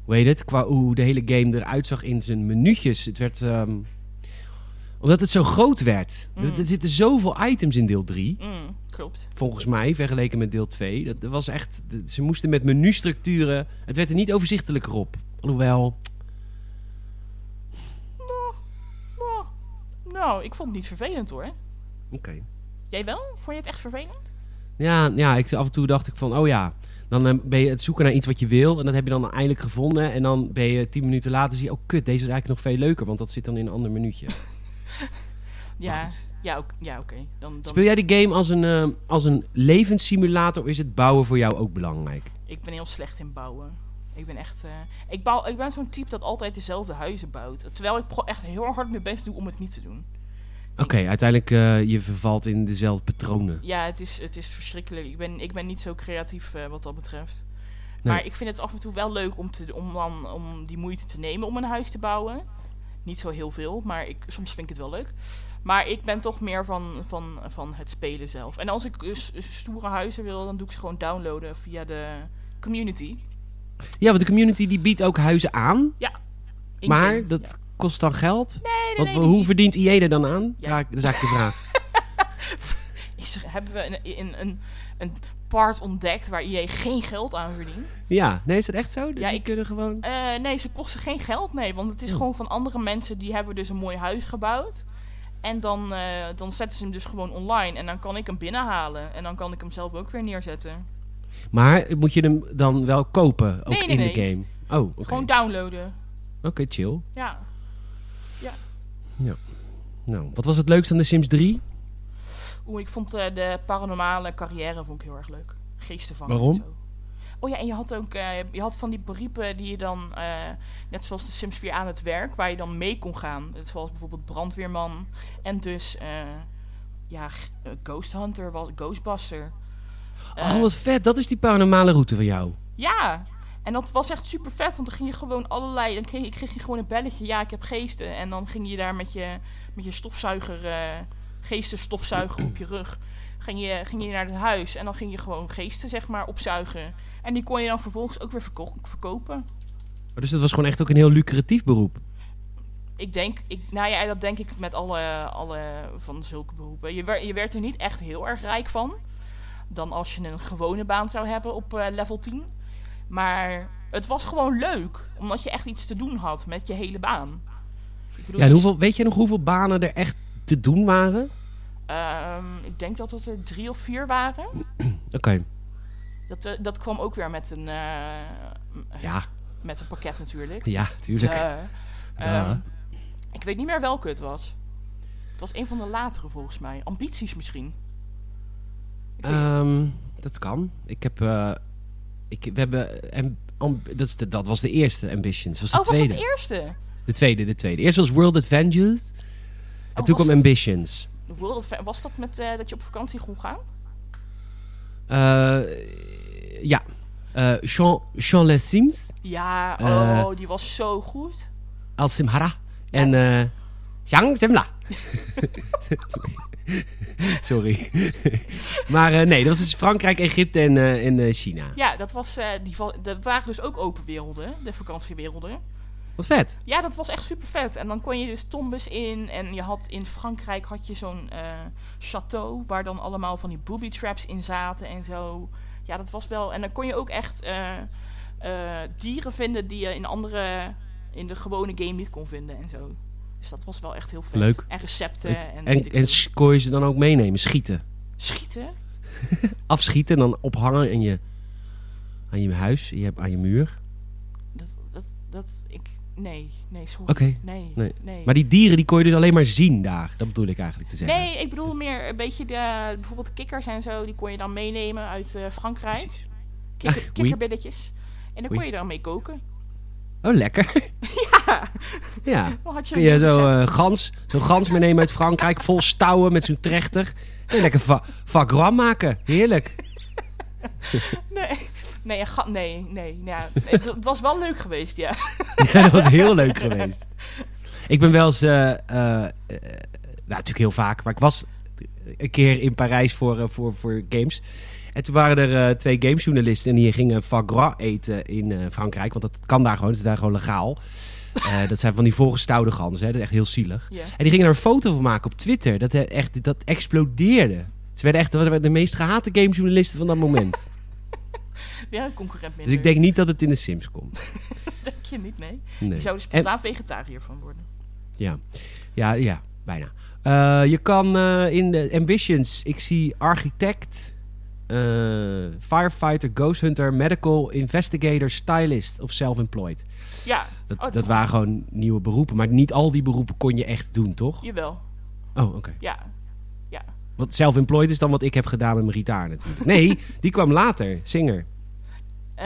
hoe heet het, qua hoe de hele game eruit zag in zijn menu'tjes. Het werd, ehm, omdat het zo groot werd. Er- Mm. Er, zitten zoveel items in deel 3, Mm, klopt. volgens mij, vergeleken met deel 2. Dat, dat was echt, dat- ze moesten met menustructuren, het werd er niet overzichtelijker op. Alhoewel, Nou, nou, ik vond het niet vervelend hoor. oké. Jij wel? Vond je het echt vervelend? Ja, ja ik, af en toe dacht ik van, oh ja, dan eh, ben je het zoeken naar iets wat je wil. En dat heb je dan eindelijk gevonden. En dan ben je tien minuten later zie je, oh kut, deze is eigenlijk nog veel leuker. Want dat zit dan in een ander minuutje. Maar Ja, goed. ja, ook- ja oké. Dan, dan, Speel jij de game als een, eh, als een levenssimulator of is het bouwen voor jou ook belangrijk? Ik ben heel slecht in bouwen. Ik ben echt. eh, ik, bouw, ik ben zo'n type dat altijd dezelfde huizen bouwt. Terwijl ik pro- echt heel hard mijn best doe om het niet te doen. Oké, uiteindelijk eh, je vervalt in dezelfde patronen. Ja, het is, het is verschrikkelijk. Ik ben, ik ben niet zo creatief eh, wat dat betreft. Nee. Maar ik vind het af en toe wel leuk om, te, om, dan, om die moeite te nemen om een huis te bouwen. Niet zo heel veel, maar ik, soms vind ik het wel leuk. Maar ik ben toch meer van, van, van het spelen zelf. En als ik eh, s- stoere huizen wil, dan doe ik ze gewoon downloaden via de community. Ja, want de community die biedt ook huizen aan. In maar game, dat ja. kost dan geld? Nee, nee, Want nee, hoe die- verdient IE er dan aan? Ja. Ja. ik- dat is eigenlijk de vraag. Is er- hebben we een, een, een, een part ontdekt waar IE geen geld aan verdient? Ja, nee, is dat echt zo? Ja, Ja, die ik- kunnen gewoon... Eh, nee, ze kosten geen geld mee. Want het is Oh. gewoon van andere mensen die hebben dus een mooi huis gebouwd. En dan, eh, dan zetten ze hem dus gewoon online. En dan kan ik hem binnenhalen. En dan kan ik hem zelf ook weer neerzetten. Maar moet je hem dan wel kopen, ook Nee, nee, in de nee. game? Oh, oké. Gewoon downloaden. Oké, chill. Ja. Nou, wat was het leukste aan The Sims 3? Oeh, ik vond eh, de paranormale carrière vond ik heel erg leuk. Geesten van. Waarom? Zo. Oh ja, en je had ook eh, je had van die beroepen die je dan, eh, net zoals de Sims 4 aan het werk, waar je dan mee kon gaan. Net Zoals bijvoorbeeld brandweerman en dus eh, ja, g- eh, ghost hunter, was, ghostbuster. Eh, oh, wat vet. Dat is die paranormale route van jou. Ja, en dat was echt super vet, want dan ging je gewoon allerlei. Dan kreeg, kreeg je gewoon een belletje, ja, ik heb geesten. En dan ging je daar met je, met je stofzuiger, eh geestenstofzuiger op je rug. Ging je, ging je naar het huis en dan ging je gewoon geesten, zeg maar, opzuigen. En die kon je dan vervolgens ook weer verko- verkopen. Oh, Dus dat was gewoon echt ook een heel lucratief beroep. Ik denk, ik, nou ja, dat denk ik met alle, alle van zulke beroepen. Je, wer- je werd er niet echt heel erg rijk van. Dan als je een gewone baan zou hebben op eh, level 10. Maar het was gewoon leuk. Omdat je echt iets te doen had met je hele baan. Ik bedoel, dus, Ja, en hoeveel, weet je nog hoeveel banen er echt te doen waren? ehm, ik denk dat het er drie of vier waren. Oké, Dat, eh, dat kwam ook weer met een, eh, m- ja, met een pakket natuurlijk. ja, tuurlijk. Duh. Duh. Ehm, ik weet niet meer welke het was. Het was een van de latere volgens mij. Ambities misschien. Ik weet Ehm, dat kan. Ik heb, eh, ik, we hebben, en, am- dat, is de, dat was de eerste Ambitions. Dat was oh, de was tweede. dat de eerste? De tweede, de tweede. Eerst was World Adventures. En Oh, toen was kwam het- Ambitions. De World Adve- was dat met eh, dat je op vakantie kon gaan? Eh, ja. Eh Jean, Jean Les Sims. Ja, Eh. oh, die was zo goed. Al Simhara. En eh Zhang Simla. Sorry. maar eh, nee, dat was dus Frankrijk, Egypte en, eh, en eh, China. Ja, dat, was, eh, die va- dat waren dus ook open werelden, de vakantiewerelden. Wat vet. Ja, dat was echt super vet. En dan kon je dus tombes in. En je had in Frankrijk had je zo'n eh, château waar dan allemaal van die booby traps in zaten en zo. Ja, dat was wel. En dan kon je ook echt eh, eh, dieren vinden die je in andere in de gewone game niet kon vinden en zo. Dus dat was wel echt heel vet. Leuk. En recepten En, en, en, weet ik veel. s- kon je ze dan ook meenemen? Schieten. schieten. Afschieten en dan ophangen aan je, aan je huis, je, aan je muur. Dat, dat, dat ik nee, nee, sorry. Oké. Nee, nee. nee. Maar die dieren die kon je dus alleen maar zien daar. Dat bedoel ik eigenlijk te zeggen. Nee, ik bedoel meer een beetje de, bijvoorbeeld de kikkers en zo, die kon je dan meenemen uit eh, Frankrijk. Precies. Kikker, Ah, oui. kikkerbilletjes. En dan Oui. kon je dan mee koken. Oh, lekker. Ja, ja. dan Oh, had je Kun een je recept. zo eh, gans, zo'n gans meenemen uit Frankrijk, vol stouwen met zo'n trechter. En lekker va vagram maken. Heerlijk. Nee, nee, een ga- nee, nee. nou ja, het, het was wel leuk geweest, ja. Ja, dat was heel leuk geweest. Ik ben wel eens, eh, eh, eh, nou, natuurlijk heel vaak, maar ik was een keer in Parijs voor, eh, voor, voor games. En toen waren er eh, twee gamejournalisten en die gingen fagra eten in eh, Frankrijk. Want dat kan daar gewoon, dat is daar gewoon legaal. Eh, dat zijn van die volgestouwde ganzen, hè. dat is echt heel zielig. ja. En die gingen er een foto van maken op Twitter. Dat, eh, echt, dat explodeerde. Ze werden echt dat waren de meest gehate gamejournalisten van dat moment. Weer een concurrent minder. dus ik denk niet dat het in de Sims komt. Denk je niet, nee. Nee. Je zou er spontaan vegetariër van worden. Ja, ja, ja bijna. Eh, je kan eh, in de Ambitions, ik zie Architect, eh, Firefighter, Ghost Hunter, Medical, Investigator, Stylist of Self-Employed. Ja, Dat, Oh, dat toch. waren gewoon nieuwe beroepen, maar niet al die beroepen kon je echt doen, toch? jawel. Oh, oké. Ja. Want Self-Employed is dan wat ik heb gedaan met mijn gitaar natuurlijk. Nee, die kwam later, Singer. Eh,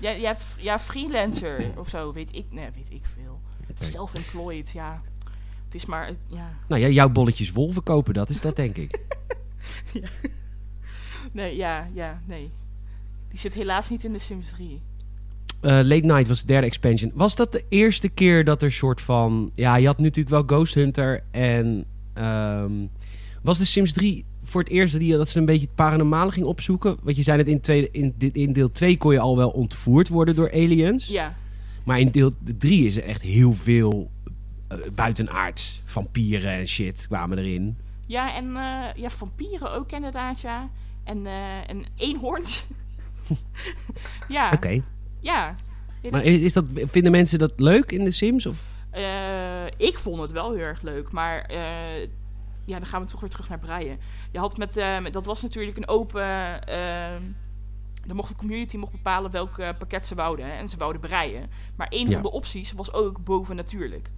jij, jij hebt f- ja, freelancer of zo, weet ik, nee, weet ik veel. Self-employed, ja. Het is maar, het- ja. Nou ja, jouw bolletjes wol verkopen, dat is dat denk ik. Nee, ja, ja, nee. Die zit helaas niet in de Sims 3. Eh, Late Night was de derde expansion. Was dat de eerste keer dat er soort van... Ja, je had natuurlijk wel Ghost Hunter en... ehm, was de Sims 3 voor het eerst dat die, dat ze een beetje het paranormale ging opzoeken? Want je zei net in, tweede, in, dit- in deel 2 kon je al wel ontvoerd worden door aliens. Ja. Maar in deel 3 is er echt heel veel eh, buitenaards. Vampieren en shit kwamen erin. Ja, en eh, ja, vampieren ook inderdaad, ja. En, eh, en eenhoorns. ja, Oké. ja. Maar is, is dat, vinden mensen dat leuk in The Sims? Of? Eh, ik vond het wel heel erg leuk, maar eh, ja, dan gaan we toch weer terug naar Breien. Je had met, eh, met- dat was natuurlijk een open, ehm, dan mocht de community mocht bepalen welk eh, pakket ze wouden hè, en ze wouden breien. Maar een Ja. van de opties was ook boven natuurlijk.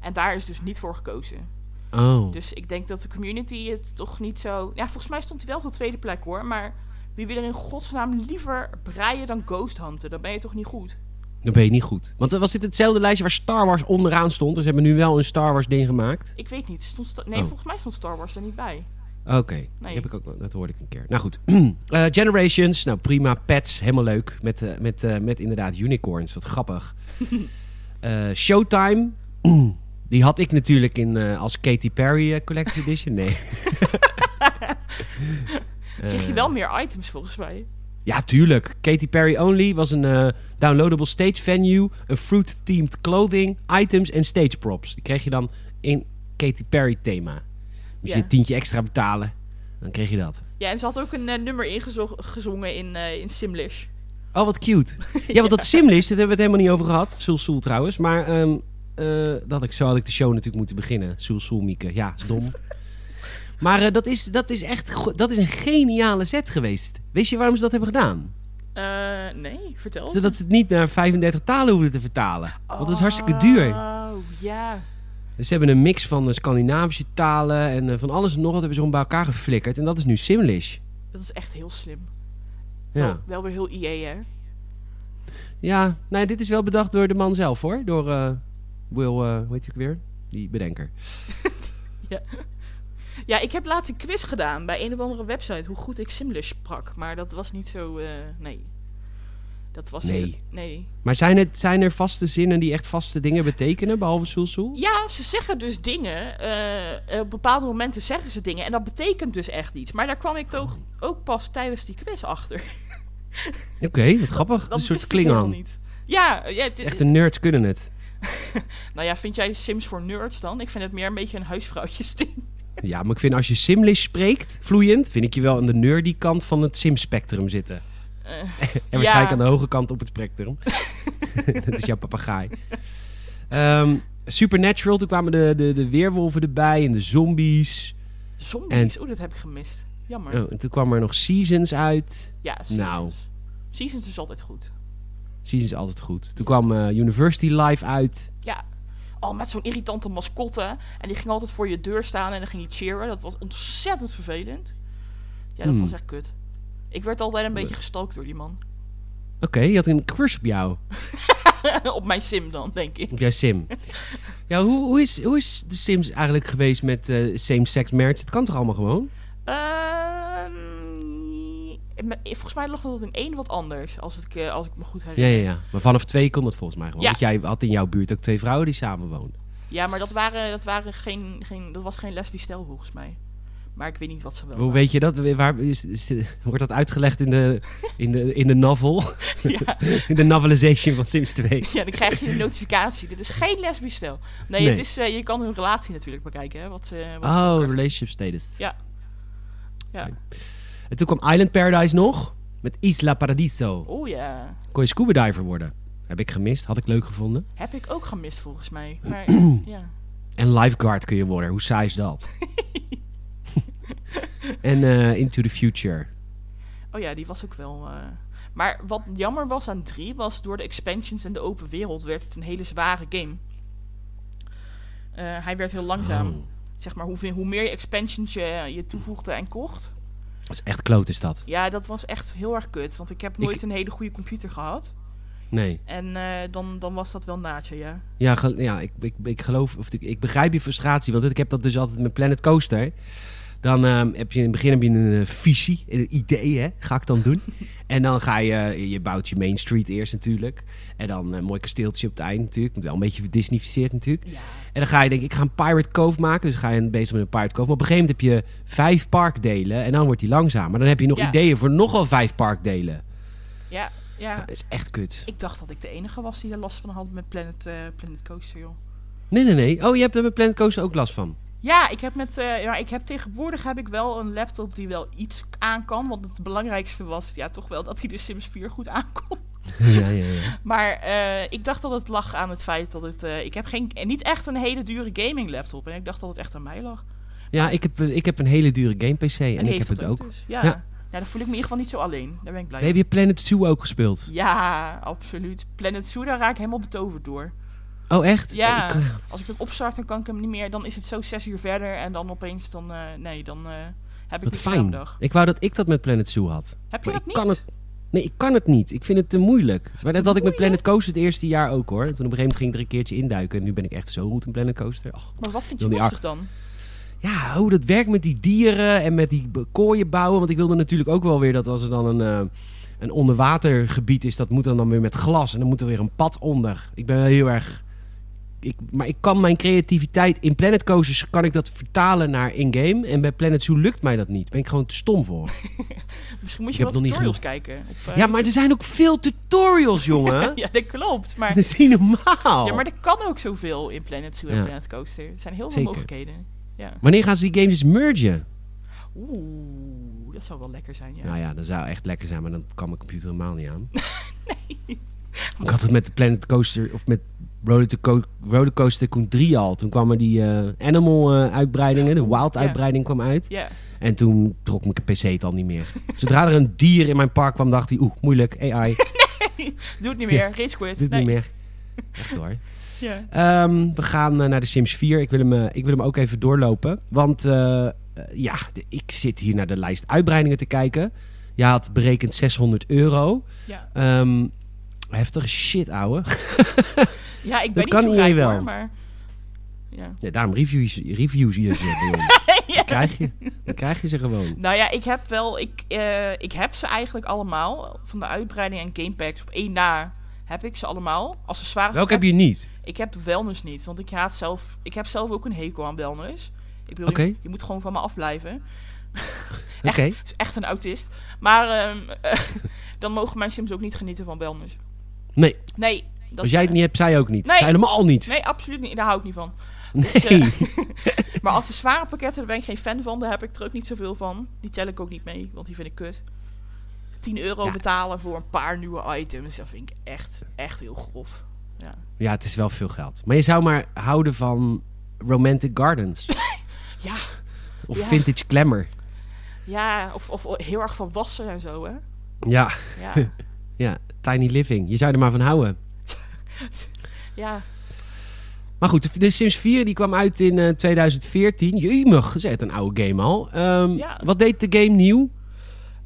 En daar is dus niet voor gekozen. Oh. Dus ik denk dat de community het toch niet zo. Ja, volgens mij stond hij wel op de tweede plek hoor. Maar wie wil er in godsnaam liever breien dan ghost hunten? Dan ben je toch niet goed? Dan ben je niet goed. Want eh, was dit hetzelfde lijstje waar Star Wars onderaan stond? Dus ze hebben nu wel een Star Wars ding gemaakt. Ik weet niet. Stond Sta- nee, Oh. volgens mij stond Star Wars er niet bij. Oké, die heb ik ook, wel- dat hoorde ik een keer. Nou goed, Eh, Generations, nou prima. Pets, helemaal leuk. Met, eh, met, eh, met inderdaad unicorns, wat grappig. Eh, Showtime, die had ik natuurlijk in, eh, als Katy Perry eh, Collector's Edition. Nee. Kreeg je Eh. wel meer items volgens mij? Ja, tuurlijk. Katy Perry Only was een eh, downloadable stage venue, een fruit-themed clothing, items en stage props. Die kreeg je dan in Katy Perry thema. Moest je Ja. een tientje extra betalen, dan kreeg je dat. Ja, en ze had ook een eh, nummer ingezongen in, eh, in Simlish. Oh, wat cute. Ja, want dat simlist, daar hebben we het helemaal niet over gehad. Soul Soul trouwens. Maar ehm, eh, dat had ik, zo had ik de show natuurlijk moeten beginnen. Soul Soul Mieke. Ja, is dom. maar eh, dat, is, dat is echt go- dat is een geniale set geweest. Weet je waarom ze dat hebben gedaan? Eh, nee, vertel. Zodat ze het niet naar 35 talen hoeven te vertalen. Want dat is hartstikke duur. Oh, ja. Dus ze hebben een mix van eh, Scandinavische talen en eh, van alles en nog wat hebben ze om bij elkaar geflikkerd. En dat is nu Simlish. Dat is echt heel slim. Ja. Wel, wel weer heel IE, hè? Ja, nou, dit is wel bedacht door de man zelf hoor. Door eh, Will, eh hoe heet hij ook weer? Die bedenker. Ja, ik heb laatst een quiz gedaan bij een of andere website hoe goed ik Simlish sprak. Maar dat was niet zo. eh, nee. Dat was. Nee. heel- nee. Maar zijn, het, zijn er vaste zinnen die echt vaste dingen betekenen, behalve Soelsoel? Ja, ze zeggen dus dingen. eh, op bepaalde momenten zeggen ze dingen. En dat betekent dus echt iets. Maar daar kwam ik toch ook pas tijdens die quiz achter. Oké, wat grappig. Dat een soort wist ik helemaal klingon. niet. Ja, ja het- Echte nerds kunnen het. nou ja, vind jij Sims voor nerds dan? Ik vind het meer een beetje een huisvrouwtjesding. Ja, maar ik vind als je Simlish spreekt, vloeiend, vind ik je wel aan de nerdy kant van het Sim-spectrum zitten. Eh, En waarschijnlijk aan de hoge kant op het spectrum. dat is jouw papegaai. Ehm, Supernatural, toen kwamen de, de, de weerwolven erbij en de zombies. zombies, oh, dat heb ik gemist. Jammer. Oh, en toen kwam er nog Seasons uit. ja, Seasons. nou. Seasons is altijd goed. Seasons is altijd goed. Toen kwam eh, University Live uit. Ja. Oh, met zo'n irritante mascotte. En die ging altijd voor je deur staan en dan ging die cheeren. Dat was ontzettend vervelend. Ja, dat Hmm. was echt kut. Ik werd altijd een beetje gestalkt door die man. Oké, je had een crush op jou. Op mijn sim dan, denk ik. Op jouw sim. ja, hoe, hoe, is, hoe is de Sims eigenlijk geweest met eh, same-sex marriage? Het kan toch allemaal gewoon? Ehm, me- volgens mij lag dat in één wat anders, als ik, eh, als ik me goed Ja, herinner. ja, ja. Maar vanaf twee kon dat volgens mij gewoon. Ja. Want jij had in jouw buurt ook twee vrouwen die samen woonden. Ja, maar dat, waren, dat, waren geen, geen, dat was geen lesbisch stel volgens mij. Maar ik weet niet wat ze wel. Hoe weet je dat? Waar, is, is- wordt dat uitgelegd in de, in de, in de novel? Ja. in de novelization van Sims 2? Ja, dan krijg je een notificatie. Dit is geen lesbisch stel. Nee, Nee. Het is, eh, je kan hun relatie natuurlijk bekijken. Hè, wat, ze- wat ze Oh, elkaar- relationship status. Ja. Ja. En toen kwam Island Paradise nog. Met Isla Paradiso. Oh ja. Kon je scuba diver worden. Heb ik gemist. Had ik leuk gevonden. Heb ik ook gemist volgens mij. Maar ja. En lifeguard kun je worden. Hoe saai is dat? en eh, Into the Future. Oh ja, die was ook wel. eh. Maar wat jammer was aan 3 was door de expansions en de open wereld werd het een hele zware game. Eh, hij werd heel langzaam. Oh. Zeg maar, hoe, hoe meer je expansions je, je toevoegde en kocht. Dat is echt kloot is dat. Ja, dat was echt heel erg kut. Want ik heb nooit een hele goede computer gehad. Nee. En eh, dan, dan was dat wel naadje, ja. Ja, gel- ja ik, ik, ik geloof, of ik, ik begrijp je frustratie, want ik heb dat dus altijd met Planet Coaster. Dan ehm, heb je in het begin heb je een eh, visie, een idee, hè? ga ik dan doen. en dan ga je, eh, je bouwt je Main Street eerst natuurlijk. En dan een mooi kasteeltje op het eind natuurlijk. Moet wel een beetje verdisnificeerd natuurlijk. Ja. En dan ga je denken, ik ga een Pirate Cove maken. Dus ga je bezig met een Pirate Cove. Maar op een gegeven moment heb je vijf parkdelen en dan wordt die langzamer. Dan heb je nog Ja. ideeën voor nogal vijf parkdelen. Ja, ja. Dat is echt kut. Ik dacht dat ik de enige was die er last van had met Planet, eh, Planet Coaster, joh. Nee, nee, nee. Oh, je hebt er met Planet Coaster ook last van. Ja, ik heb, met, eh, ja, ik heb tegenwoordig heb ik wel een laptop die wel iets aan kan. Want het belangrijkste was ja, toch wel dat hij de Sims 4 goed aankomt. ja, ja, ja. Maar eh, ik dacht dat het lag aan het feit dat het... eh, ik heb geen, en niet echt een hele dure gaming laptop. En ik dacht dat het echt aan mij lag. Ja, ik heb, ik heb een hele dure game-pc en, die ik heb heeft het dat ook. dus. Ja. Ja. Ja. dan voel ik me in ieder geval niet zo alleen. Daar ben ik blij Heb je Planet Zoo ook gespeeld? mee. Ja, absoluut. Planet Zoo, daar raak ik helemaal betoverd door. Oh, echt? Ja. Ik, Als ik dat opstart, dan kan ik hem niet meer. Dan is het zo zes uur verder en dan opeens dan... eh, nee, dan eh, heb ik wat niet zo'n fijn. dag. Ik wou dat ik dat met Planet Zoo had. Heb je Maar dat ik niet? kan het. Nee, ik kan het niet. Ik vind het te moeilijk. Maar dat had ik met Planet Coaster het eerste jaar ook hoor. Toen op een gegeven moment ging ik er een keertje induiken. En nu ben ik echt zo goed in Planet Coaster. Oh. Maar wat vind je Wil die lastig dan? Ja, hoe dat werkt met die dieren en met die b- kooien bouwen. Want ik wilde natuurlijk ook wel weer dat als er dan een, eh, een onderwatergebied is, dat moet dan, dan weer met glas. En dan moet er weer een pad onder. Ik ben wel heel erg. Ik, maar ik kan mijn creativiteit in Planet Coasters kan ik dat vertalen naar in-game. En bij Planet Zoo lukt mij dat niet. Ben ik gewoon te stom voor. Misschien moet Ik je wel heb nog niet tutorials kijken. Op, eh, Ja, maar er zijn ook veel tutorials, jongen. Ja, dat klopt. Maar, Dat is niet normaal. ja, maar er kan ook zoveel in Planet Zoo en Ja. Planet Coaster. Er zijn heel veel Zeker. mogelijkheden. Ja. Wanneer gaan ze die games eens mergen? Oeh, dat zou wel lekker zijn, ja. Nou ja, dat zou echt lekker zijn, maar dan kan mijn computer helemaal niet aan. Ik had het met de Planet Coaster of met Roller Co- Roller Coaster Tycoon 3 al. Toen kwamen die eh, Animal eh, uitbreidingen, de Wild Ja. uitbreiding kwam uit. Ja, En toen trok mijn PC het al niet meer. Zodra er een dier in mijn park kwam, dacht hij, oeh, moeilijk, AI, doe het niet meer. Race quit. dit doe Nee. het niet meer. Echt hoor. Ja. Ehm, we gaan eh, naar de Sims 4. Ik wil hem, eh, ik wil hem ook even doorlopen. Want eh, eh, ja, de- ik zit hier naar de lijst uitbreidingen te kijken. Je had berekend 600 euro. Ja. Ehm heftige shit, ouwe. ja, ik Dat ben kan niet zo iedereen rijk wel. hoor, maar... Ja. Ja, daarom reviews, reviews hier zo bij ons. Dat krijg je. Dat krijg je ze gewoon. Nou ja, ik heb wel... Ik, eh, ik heb ze eigenlijk allemaal. Van de uitbreiding en gamepacks op één na heb ik ze allemaal. Accessoires Welke heb je niet? Ik heb wellness niet, want ik haat zelf. Ik heb zelf ook een hekel aan wellness. Ik bedoel, Oké. je, je moet gewoon van me afblijven. Oké. Echt, is echt een autist. Maar ehm, dan mogen mijn Sims ook niet genieten van wellness. Nee, Nee. Dat, als jij het niet hebt, zij ook niet. Nee. Zij helemaal niet. Nee, absoluut niet. Daar hou ik niet van. Nee. Dus, eh, maar als de zware pakketten, daar ben ik geen fan van. Daar heb ik er ook niet zoveel van. Die tel ik ook niet mee, want die vind ik kut. 10 euro Ja. betalen voor een paar nieuwe items, dat vind ik echt, echt heel grof. Ja. Ja, het is wel veel geld. Maar je zou maar houden van Romantic Gardens. Ja. Of Ja. Vintage Glamour. Ja, of, of heel erg van wassen en zo, hè? Ja. Ja. Ja, Tiny Living. Je zou er maar van houden. ja. Maar goed, de- de Sims 4 die kwam uit in eh 2014. Jemig, dat is echt een oude game al. Ehm, Ja. Wat deed de game nieuw?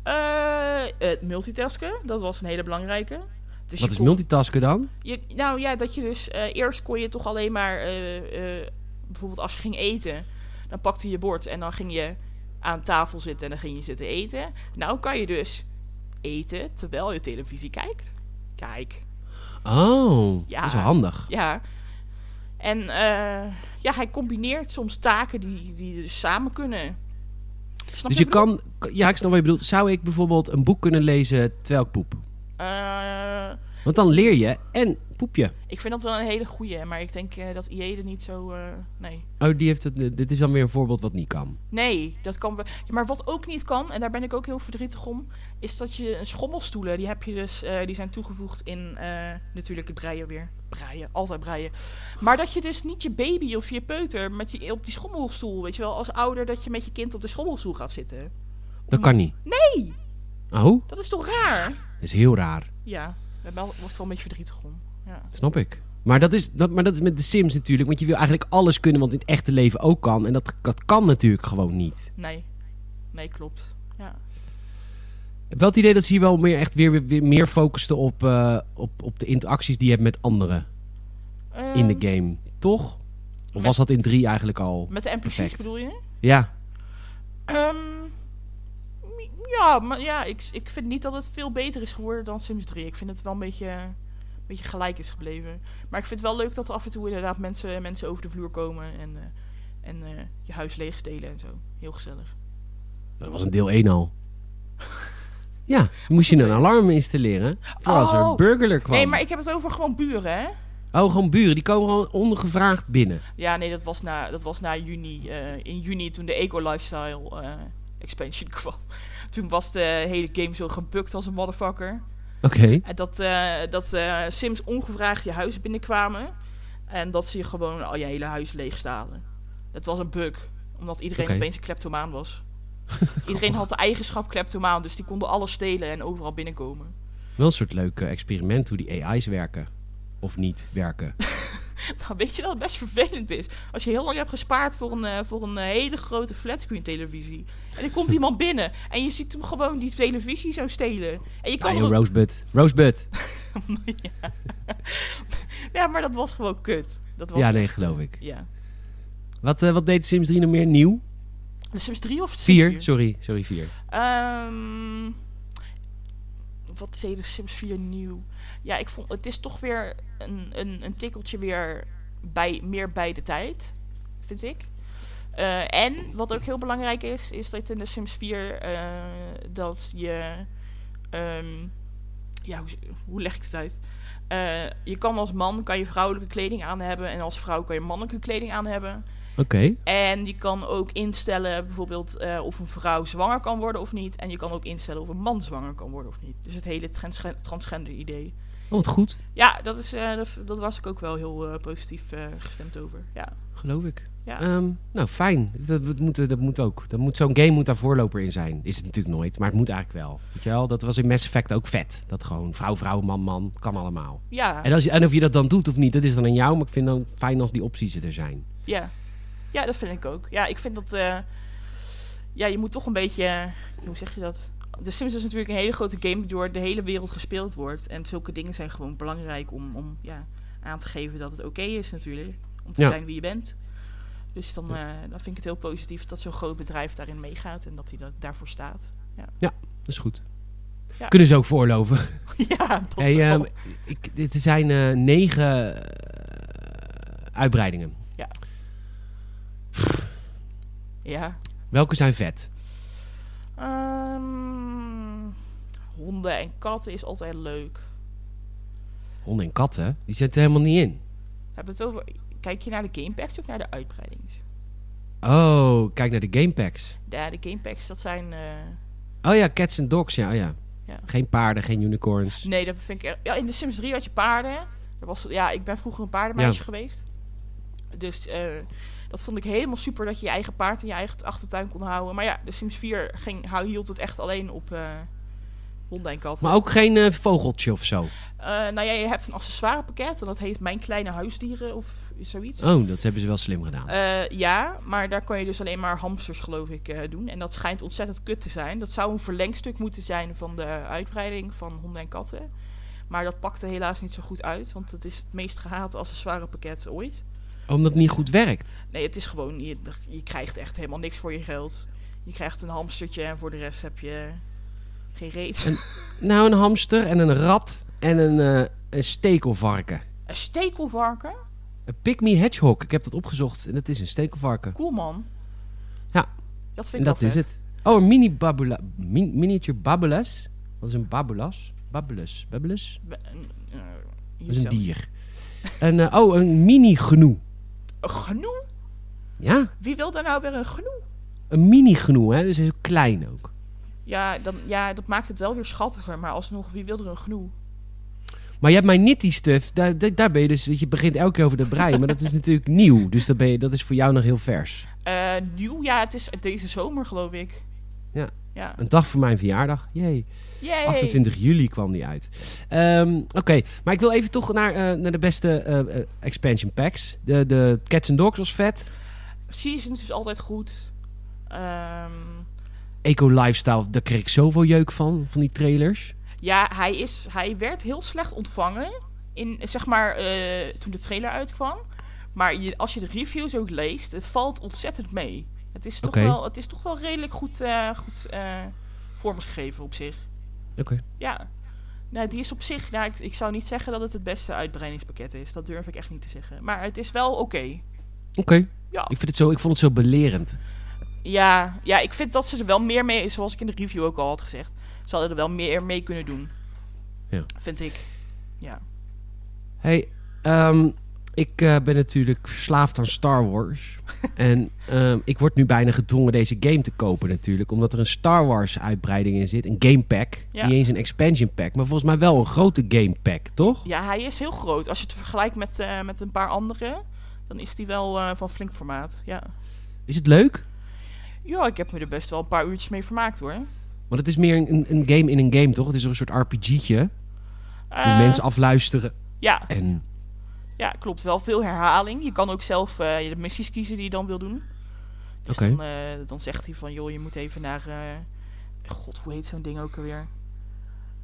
Eh, het multitasken, dat was een hele belangrijke. Dus Wat je is kon- multitasken dan? je- nou ja, dat je dus... eh, eerst kon je toch alleen maar... eh, eh, bijvoorbeeld als je ging eten, dan pakte je je bord en dan ging je aan tafel zitten en dan ging je zitten eten. Nou kan je dus eten terwijl je televisie kijkt. Kijk, Oh, Ja. dat is wel handig. ja. En eh, ja, hij combineert soms taken die, die dus samen kunnen. Snap wat Dus ik je bedoel? kan... Ja, ik snap wat je bedoelt. Zou ik bijvoorbeeld een boek kunnen lezen terwijl ik poep? Eh, Want dan leer je en poep je. Ik vind dat wel een hele goeie, maar ik denk eh, dat IE er niet zo... eh, nee. Oh, die heeft het, dit is dan weer een voorbeeld wat niet kan. Nee, dat kan wel. Ja, maar wat ook niet kan, en daar ben ik ook heel verdrietig om, is dat je schommelstoelen, die heb je dus, eh, die zijn toegevoegd in eh, natuurlijk het breien weer. Breien, altijd breien. Maar dat je dus niet je baby of je peuter met die, op die schommelstoel, weet je wel, als ouder, dat je met je kind op de schommelstoel gaat zitten. Dat kan niet. Nee, Oh, dat is toch raar? dat is heel raar. Ja, daar ben- was ik wel een beetje verdrietig om. Ja. Snap ik. Maar dat, is, dat, maar dat is met de Sims natuurlijk. Want je wil eigenlijk alles kunnen wat in het echte leven ook kan. En dat, dat kan natuurlijk gewoon niet. Nee, nee, klopt. Ja. Ik heb wel het idee dat ze hier wel meer, echt weer, weer, weer meer focusten op, eh, op, op de interacties die je hebt met anderen in Ehm, de game. Toch? Of met- was dat in 3 eigenlijk al? Met de NPC's Perfect. bedoel je? Ja. Ehm, m- ja, maar ja, ik, ik vind niet dat het veel beter is geworden dan Sims 3. Ik vind het wel een beetje, een beetje gelijk is gebleven. Maar ik vind het wel leuk dat er af en toe inderdaad mensen, mensen over de vloer komen en, eh, en eh, je huis leegstelen en zo. Heel gezellig. Dat was een deel 1 al. Ja, moest je Oh. een alarm installeren voor als er Oh. een burglar kwam. Nee, maar ik heb het over gewoon buren, hè? Oh, gewoon buren. Die komen gewoon ongevraagd binnen. Ja, nee, dat was na, dat was na juni. eh, in juni toen de Eco Lifestyle eh, expansion kwam. Toen was de hele game zo gebukt als een motherfucker. Oké. En dat, eh, dat eh, Sims ongevraagd je huis binnenkwamen. En dat ze je gewoon al je hele huis leegstalen. Dat was een bug. Omdat iedereen Oké. Oh. opeens een kleptomaan was. iedereen had de eigenschap kleptomaan. Dus die konden alles stelen en overal binnenkomen. Wel een soort leuk eh, experiment hoe die AI's werken. Of niet werken. Nou, weet je dat het best vervelend is? Als je heel lang hebt gespaard voor een, eh, voor een eh, hele grote flatscreen televisie. En er komt iemand binnen en je ziet hem gewoon die televisie zo stelen. En je Ah, kan joh, er- Rosebud. Rosebud. Ja, maar dat was gewoon kut. Dat was Ja, nee, echt, eh, geloof ik. Ja. Wat, eh, wat deed Sims 3 nog meer nieuw? De Sims 3 of Sims 4, sorry. Sorry, 4. Ehm, wat deed de Sims 4 nieuw? Ja, ik vond het is toch weer een, een, een tikkeltje weer bij, meer bij de tijd, vind ik. Eh, en wat ook heel belangrijk is, is dat in de Sims 4 eh, dat je. ehm, ja, hoe, hoe leg ik het uit? Eh, je kan als man kan je vrouwelijke kleding aan hebben en als vrouw kan je mannelijke kleding aan hebben. Oké. En je kan ook instellen bijvoorbeeld eh, of een vrouw zwanger kan worden of niet. En je kan ook instellen of een man zwanger kan worden of niet. Dus het hele transge- transgender idee. Oh, wat goed. Ja, dat, is, eh, dat, dat was ik ook wel heel eh, positief eh, gestemd over. Ja. Geloof ik. Ja. Ehm, nou, fijn. Dat, dat moet, dat moet ook. Dat moet, zo'n game moet daar voorloper in zijn. Is het natuurlijk nooit, maar het moet eigenlijk wel. Weet je wel? Dat was in Mass Effect ook vet. Dat gewoon vrouw, vrouw, man, man. Kan allemaal. Ja, En, als je, en of je dat dan doet of niet, dat is dan aan jou. Maar ik vind dan fijn als die opties er zijn. ja. ja, dat vind ik ook. Ja, ik vind dat... eh, ja, je moet toch een beetje... eh, hoe zeg je dat? De Sims is natuurlijk een hele grote game die door de hele wereld gespeeld wordt. En zulke dingen zijn gewoon belangrijk om, om ja, aan te geven dat het oké is natuurlijk. Om te Ja. zijn wie je bent. Dus dan, eh, dan vind ik het heel positief dat zo'n groot bedrijf daarin meegaat en dat hij dat daarvoor staat. Dat is goed. Ja. Kunnen ze ook voorlopen. ja, dat Hey, wel. ehm, ik, dit zijn eh, negen eh, uitbreidingen. ja. Welke zijn vet? Ehm, honden en katten is altijd leuk. Honden en katten, die zitten er helemaal niet in. Hebben we het over... Kijk je naar de gamepack of naar de uitbreiding? Oh, kijk naar de gamepacks. Ja, de gamepacks, dat zijn... eh, Oh ja, cats en dogs, ja, oh ja. Ja. Geen paarden, geen unicorns. Nee, dat vind ik... er- Ja, in de Sims 3 had je paarden. Dat was, ja, ik ben vroeger een paardenmeisje Ja. geweest. Dus eh, dat vond ik helemaal super dat je je eigen paard in je eigen achtertuin kon houden. Maar ja, de Sims 4 ging, hou- hield het echt alleen op eh honden en katten. Maar ook geen eh, vogeltje of zo. Eh, nou ja, je hebt een accessoirepakket en dat heet Mijn Kleine Huisdieren of zoiets. Oh, dat hebben ze wel slim gedaan. Eh, ja, maar daar kan je dus alleen maar hamsters, geloof ik, eh, doen. En dat schijnt ontzettend kut te zijn. Dat zou een verlengstuk moeten zijn van de uitbreiding van honden en katten. Maar dat pakte helaas niet zo goed uit, want het is het meest gehate accessoirepakket ooit. Omdat het niet goed werkt. Nee, het is gewoon, je, je krijgt echt helemaal niks voor je geld. Je krijgt een hamstertje en voor de rest heb je geen reet. Een, Nou, een hamster en een rat en een, eh een stekelvarken. stekelvarken? Een pygmy hedgehog, ik heb dat opgezocht en dat is een stekelvarken. Cool man. Ja. Dat vind En ik dat wel is vet. het. Oh, een mini babula, min, miniature babeles. Wat is een babelas? Babelus, babelus? Be- een- eh, Dat is een jezelf. dier. En, eh, oh, een mini genoe. Een genoe? Ja, Wie wil daar nou weer een genoe? een mini genoe, hè. Dus heel klein ook. Ja, dan, ja, dat maakt het wel weer schattiger. Maar alsnog, wie wil er een genoe? Maar je hebt mijn nitty stuff, daar, daar- daar ben je dus, weet je begint elke keer over dat breien, maar dat is natuurlijk nieuw, dus dat, ben je, dat is voor jou nog heel vers. Eh, nieuw, ja, het is uit deze zomer, geloof ik. Ja. Ja. Een dag voor mijn verjaardag, jee. Yay. 28 juli kwam die uit. Ehm, Oké, maar ik wil even toch naar, eh, naar de beste eh, eh, expansion packs. De, de Cats and Dogs was vet, Seasons is altijd goed. Ehm, Eco Lifestyle, daar kreeg ik zoveel jeuk van, van die trailers. ja, hij, is, hij werd heel slecht ontvangen. In, zeg maar, eh, toen de trailer uitkwam. Maar je, als je de reviews ook leest, het valt ontzettend mee. Het is toch, Oké. wel, het is toch wel redelijk goed, eh, goed eh, vormgegeven op zich. Oké. Ja. Nou, die is op zich... Nou, ik, ik zou niet zeggen dat het het beste uitbreidingspakket is. Dat durf ik echt niet te zeggen. Maar het is wel oké. Oké, Ja. ik, vind het zo- ik vond het zo belerend. Ja, ja, ik vind dat ze er wel meer mee... Zoals ik in de review ook al had gezegd. Ze hadden er wel meer mee kunnen doen. Ja. Vind ik. Ja. Hey, eh, Ehm, ik eh, ben natuurlijk verslaafd aan Star Wars. en ehm, ik word nu bijna gedwongen deze game te kopen natuurlijk. Omdat er een Star Wars uitbreiding in zit. Een game pack. Ja. Niet eens een expansion pack. Maar volgens mij wel een grote game pack, toch? Ja, hij is heel groot. Als je het vergelijkt met, eh, met een paar andere, dan is die wel eh, van flink formaat. Ja. Is het leuk? ja, ik heb me er best wel een paar uurtjes mee vermaakt hoor. Want het is meer een, een game in een game, toch? Het is een soort RPG'tje. Hoe Eh, mensen afluisteren. ja, En ja, klopt. Wel veel herhaling. Je kan ook zelf eh, je de missies kiezen die je dan wil doen. Dus Oké. dan, eh, dan zegt hij van, joh, je moet even naar... eh, God, hoe heet zo'n ding ook alweer?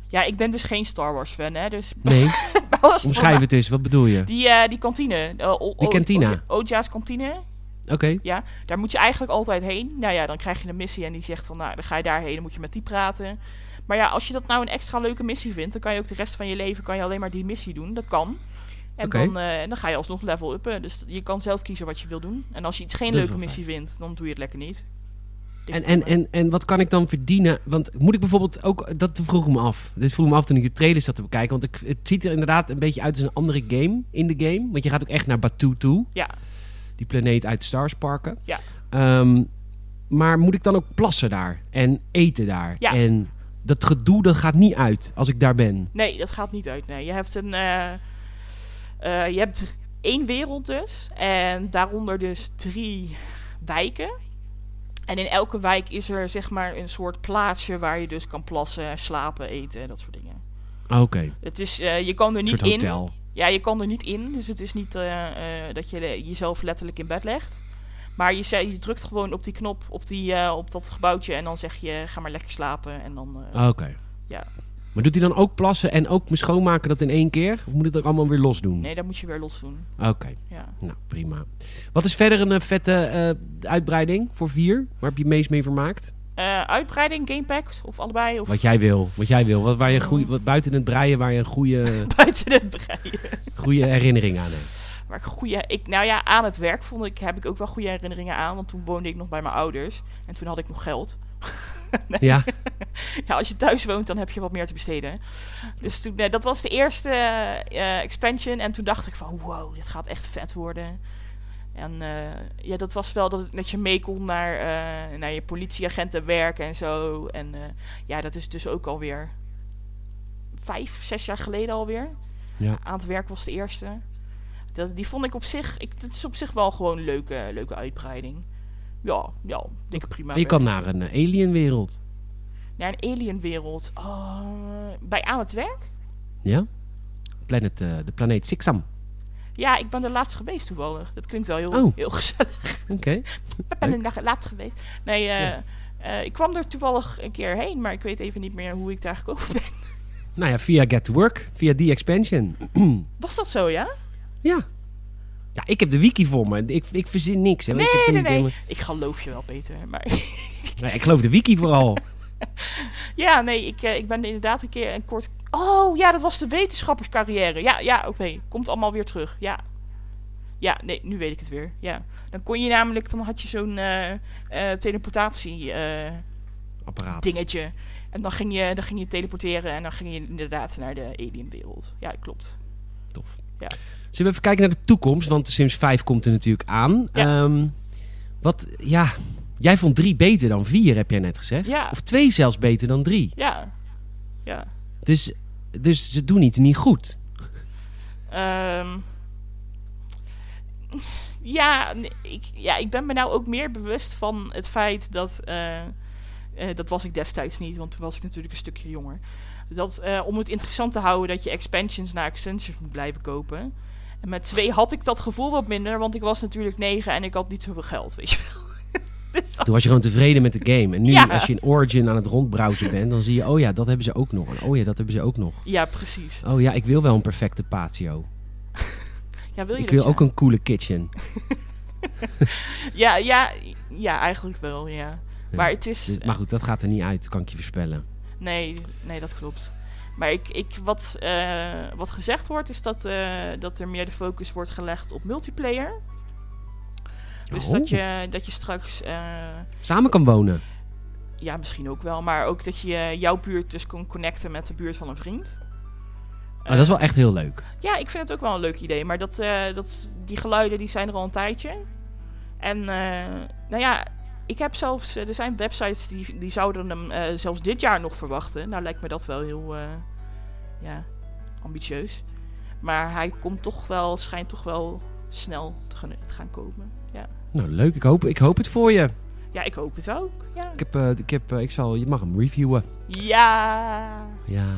Ja, ik ben dus geen Star Wars fan, hè. Dus nee, alles voor omschrijf het eens. Wat bedoel je? mij. Die, eh, die kantine. eh, O- Die O- kantina. Oja- Oja's kantine. Oké. Ja, daar moet je eigenlijk altijd heen. Nou ja, dan krijg je een missie en die zegt van, nou, dan ga je daarheen, dan moet je met die praten. Maar ja, als je dat nou een extra leuke missie vindt, dan kan je ook de rest van je leven kan je alleen maar die missie doen. Dat kan. En Oké. dan, eh, dan ga je alsnog level uppen. Dus je kan zelf kiezen wat je wil doen. En als je iets geen Dat is leuke wel missie vindt, dan doe je het lekker niet. Dik En, en, domme. en, en wat kan ik dan verdienen? Want moet ik bijvoorbeeld ook... Dat vroeg ik me af. Dit vroeg ik me af toen ik de trailer zat te bekijken. Want ik, het ziet er inderdaad een beetje uit als een andere game in de game. Want je gaat ook echt naar Batuu toe. Ja. Die planeet uit Star Wars parken. Ja. Ehm, maar moet ik dan ook plassen daar? En eten daar? Ja. En dat gedoe dat gaat niet uit als ik daar ben. Nee, dat gaat niet uit. Nee, je hebt een. eh, eh, je hebt één wereld dus. En daaronder dus drie wijken. En in elke wijk is er zeg maar een soort plaatsje waar je dus kan plassen, slapen, eten, dat soort dingen. Oké. Het is, eh, je kan er Een niet soort in. hotel. Ja, je kan er niet in. Dus het is niet eh, eh, dat je le- jezelf letterlijk in bed legt. Maar je, ze- je drukt gewoon op die knop, op, die, eh, op dat gebouwtje. En dan zeg je, ga maar lekker slapen. En dan, eh, Oké. Ja. Maar doet hij dan ook plassen en ook schoonmaken dat in één keer? Of moet het ook allemaal weer los doen? nee, dat moet je weer los doen. Oké. Ja. Nou, prima. Wat is verder een eh, vette eh, uitbreiding voor vier? Waar heb je het meest mee vermaakt? Eh, uitbreiding, gamepack of allebei? Of Wat jij wil. Wat jij wil. Wat, waar Oh. je een goeie, wat buiten het breien waar je een goede, buiten het breien. goede herinnering aan hebt. Maar goede, ik, nou ja, aan het werk vond ik, heb ik ook wel goede herinneringen aan. Want toen woonde ik nog bij mijn ouders. En toen had ik nog geld. Ja? Ja, als je thuis woont, dan heb je wat meer te besteden. Dus toen, eh, dat was de eerste eh, eh, expansion. En toen dacht ik van, wow, dit gaat echt vet worden. En eh, ja, dat was wel dat, dat je mee kon naar, eh, naar je politieagentenwerk en zo. En eh, ja, dat is dus ook alweer vijf, zes jaar geleden alweer. Ja. Aan het werk was de eerste. Dat, die vond ik op zich, ik, dat is op zich wel gewoon een leuke, leuke uitbreiding. Ja, ja, dikke prima. Je werk. kan naar een eh, alienwereld. Naar een alienwereld. Oh, bij Aan het Werk? Ja? Planet, eh, de planeet Sixam. Ja, ik ben er laatst geweest toevallig. Dat klinkt wel heel, Oh. heel gezellig. Oké. Ik ben er laatst geweest. Nee, eh, eh, ik kwam er toevallig een keer heen, maar ik weet even niet meer hoe ik daar gekomen ben. Nou ja, via Get to Work. Via die expansion. Was dat zo, ja? Ja. Ja, ik heb de wiki voor me. Ik, ik verzin niks. Hè, want ik, Nee, nee, heb toen nee. helemaal- Ik geloof je wel, Peter. Maar Nee, ik geloof de wiki vooral. ja, nee, ik, eh, ik ben inderdaad een keer een kort... Oh, ja, dat was de wetenschapperscarrière. Ja, ja, oké. Komt allemaal weer terug, ja. Ja, nee, nu weet ik het weer, ja. Dan kon je namelijk, dan had je zo'n eh, eh, teleportatie... eh, Apparaat. dingetje. En dan ging, je, dan ging je teleporteren en dan ging je inderdaad naar de alienwereld. Ja, klopt. Tof. Ja. Zullen we even kijken naar de toekomst? Want de Sims 5 komt er natuurlijk aan. Ja. Ehm, wat, ja, jij vond 3 beter dan 4, heb jij net gezegd. Ja. Of 2 zelfs beter dan 3. Ja. Ja. Dus, dus ze doen iets niet goed. Ehm, ja, nee, ik, ja, ik ben me nou ook meer bewust van het feit dat... eh, eh, dat was ik destijds niet, want toen was ik natuurlijk een stukje jonger. Dat eh, om het interessant te houden dat je expansions na extensions moet blijven kopen. En met twee had ik dat gevoel wat minder, want ik was natuurlijk negen en ik had niet zoveel geld, weet je wel. dus dat- Toen was je gewoon tevreden met de game. En nu, Ja. als je in Origin aan het rondbrowsen bent, dan zie je... Oh ja, dat hebben ze ook nog. En oh ja, dat hebben ze ook nog. ja, precies. Oh ja, ik wil wel een perfecte patio. Ja, wil je Ik dat, wil ja? ook een coole kitchen. Ja, ja, ja, eigenlijk wel, ja. Maar het is... Dus- Maar goed, dat gaat er niet uit, kan ik je voorspellen. Nee, nee, dat klopt. Maar ik, ik, wat, eh, wat gezegd wordt, is dat, eh, dat er meer de focus wordt gelegd op multiplayer. Dus Oh. dat, je, dat je straks... eh, Samen kan wonen. ja, misschien ook wel. Maar ook dat je eh, jouw buurt dus kon connecten met de buurt van een vriend. Oh, dat is wel echt heel leuk. Ja, ik vind het ook wel een leuk idee. Maar dat, eh, dat, die geluiden die zijn er al een tijdje. En eh, nou ja, ik heb zelfs... eh, Er zijn websites die, die zouden hem eh, zelfs dit jaar nog verwachten. Nou lijkt me dat wel heel eh, ja, ambitieus. Maar hij komt toch wel, schijnt toch wel snel te gaan, te gaan komen. Ja. Nou, leuk. Ik hoop, ik hoop het voor je. ja, ik hoop het ook. Ja. Ik heb, eh, ik heb, eh, ik zal, je mag hem reviewen. ja. Ja.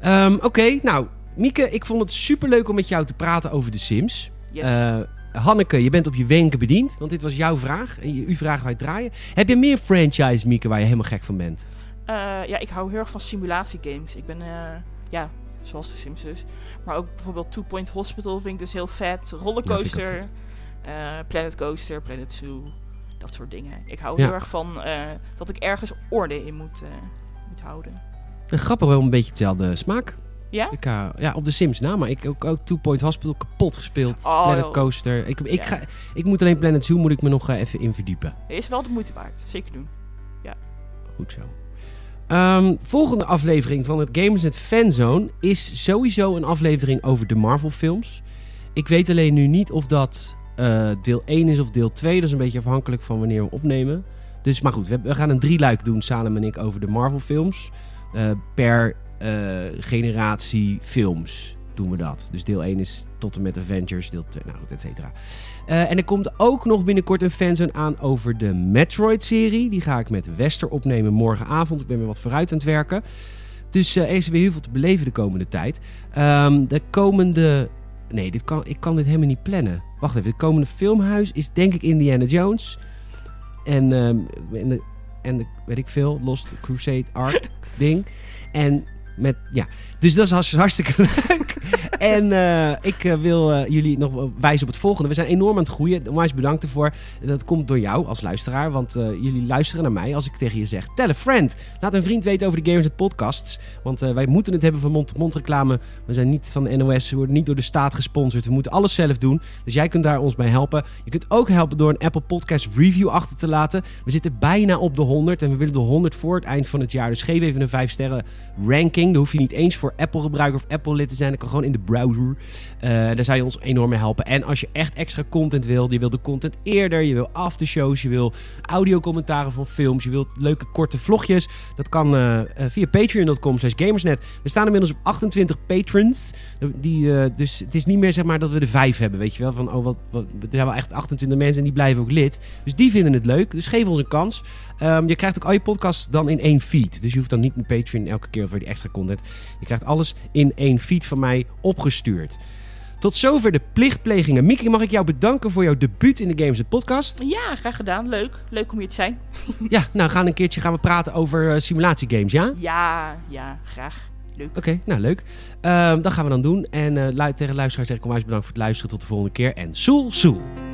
Ehm, Oké, nou, Mieke, ik vond het superleuk om met jou te praten over de Sims. Yes. Eh, Hanneke, je bent op je wenken bediend, want dit was jouw vraag. En je, uw vraag wij draaien. Heb je meer franchise, Mieke, waar je helemaal gek van bent? Eh, ja, ik hou heel erg van simulatiegames. Ik ben, eh, ja, zoals de Sims dus. Maar ook bijvoorbeeld Two Point Hospital vind ik dus heel vet. Rollercoaster, Ja, eh, Planet Coaster, Planet Zoo, dat soort dingen. Ik hou Ja. heel erg van eh, dat ik ergens orde in moet, eh, moet houden. Eh, Grappig, wel een beetje hetzelfde smaak. Ja? Ik, eh, ja, op de Sims na, maar ik ook, ook Two Point Hospital kapot gespeeld. Oh, Planet joh. Coaster. Ik, ik, Ja. ga, ik moet alleen Planet Zoo moet ik me nog eh, even in verdiepen. Is wel de moeite waard, zeker doen. Goed zo. Ehm, volgende aflevering van het Gamersnet Fanzone is sowieso een aflevering over de Marvel films. Ik weet alleen nu niet of dat eh, deel 1 is of deel 2. Dat is een beetje afhankelijk van wanneer we opnemen. Dus, maar goed, we, we gaan een drieluik doen, Salem en ik, over de Marvel films. Eh, per eh, generatie films doen we dat. Dus deel 1 is tot en met Avengers, deel 2, nou goed, et cetera. Eh, en er komt ook nog binnenkort een fanzone aan over de Metroid-serie. Die ga ik met Wester opnemen morgenavond. Ik ben weer wat vooruit aan het werken. Dus eh, er is weer heel veel te beleven de komende tijd. Ehm, de komende... Nee, dit kan, ik kan dit helemaal niet plannen. Wacht even, de komende filmhuis is denk ik Indiana Jones. En, ehm, en, de, en de, weet ik veel, Lost Crusade Ark ding. En met, ja, dus dat is hars- hartstikke leuk. en eh, ik eh, wil eh, jullie nog wel wijzen op het volgende. We zijn enorm aan het groeien. Onwijs bedankt ervoor. Dat komt door jou als luisteraar. Want eh, jullie luisteren naar mij als ik tegen je zeg... Tell a friend. Laat een vriend weten over de Gamers en Podcasts. Want eh, wij moeten het hebben van mond-tot-mond reclame. We zijn niet van de NOS. We worden niet door de staat gesponsord. We moeten alles zelf doen. Dus jij kunt daar ons bij helpen. Je kunt ook helpen door een Apple Podcast review achter te laten. We zitten bijna op de 100. En we willen de 100 voor het eind van het jaar. Dus geef even een 5 sterren ranking. Daar hoef je niet eens voor Apple gebruiker of Apple lid te zijn. Dat kan gewoon in de browser. Eh, daar zou je ons enorm mee helpen. En als je echt extra content wil, je wil de content eerder, je wil aftershows, je wil audiocommentaren van films, je wilt leuke korte vlogjes. Dat kan eh, eh, via patreon.com slash gamersnet. We staan inmiddels op 28 patrons. Die, eh, dus het is niet meer zeg maar dat we er vijf hebben, weet je wel. Van, oh, wat, wat, er zijn wel echt 28 mensen en die blijven ook lid. Dus die vinden het leuk. Dus geef ons een kans. Ehm, je krijgt ook al je podcasts dan in één feed. Dus je hoeft dan niet met Patreon elke keer voor die extra content. Je krijgt alles in één feed van mij opgestuurd. Tot zover de plichtplegingen. Mieke, mag ik jou bedanken voor jouw debuut in de Games en Podcast? Ja, graag gedaan. Leuk. Leuk om hier te zijn. Ja, nou gaan een keertje gaan we praten over eh, simulatiegames, ja? Oké, Ja, ja, graag. Leuk. nou leuk. Ehm, dat gaan we dan doen. En eh, lu- tegen luisteraars zeg ik onwijs bedankt voor het luisteren. Tot de volgende keer. En soel, soel.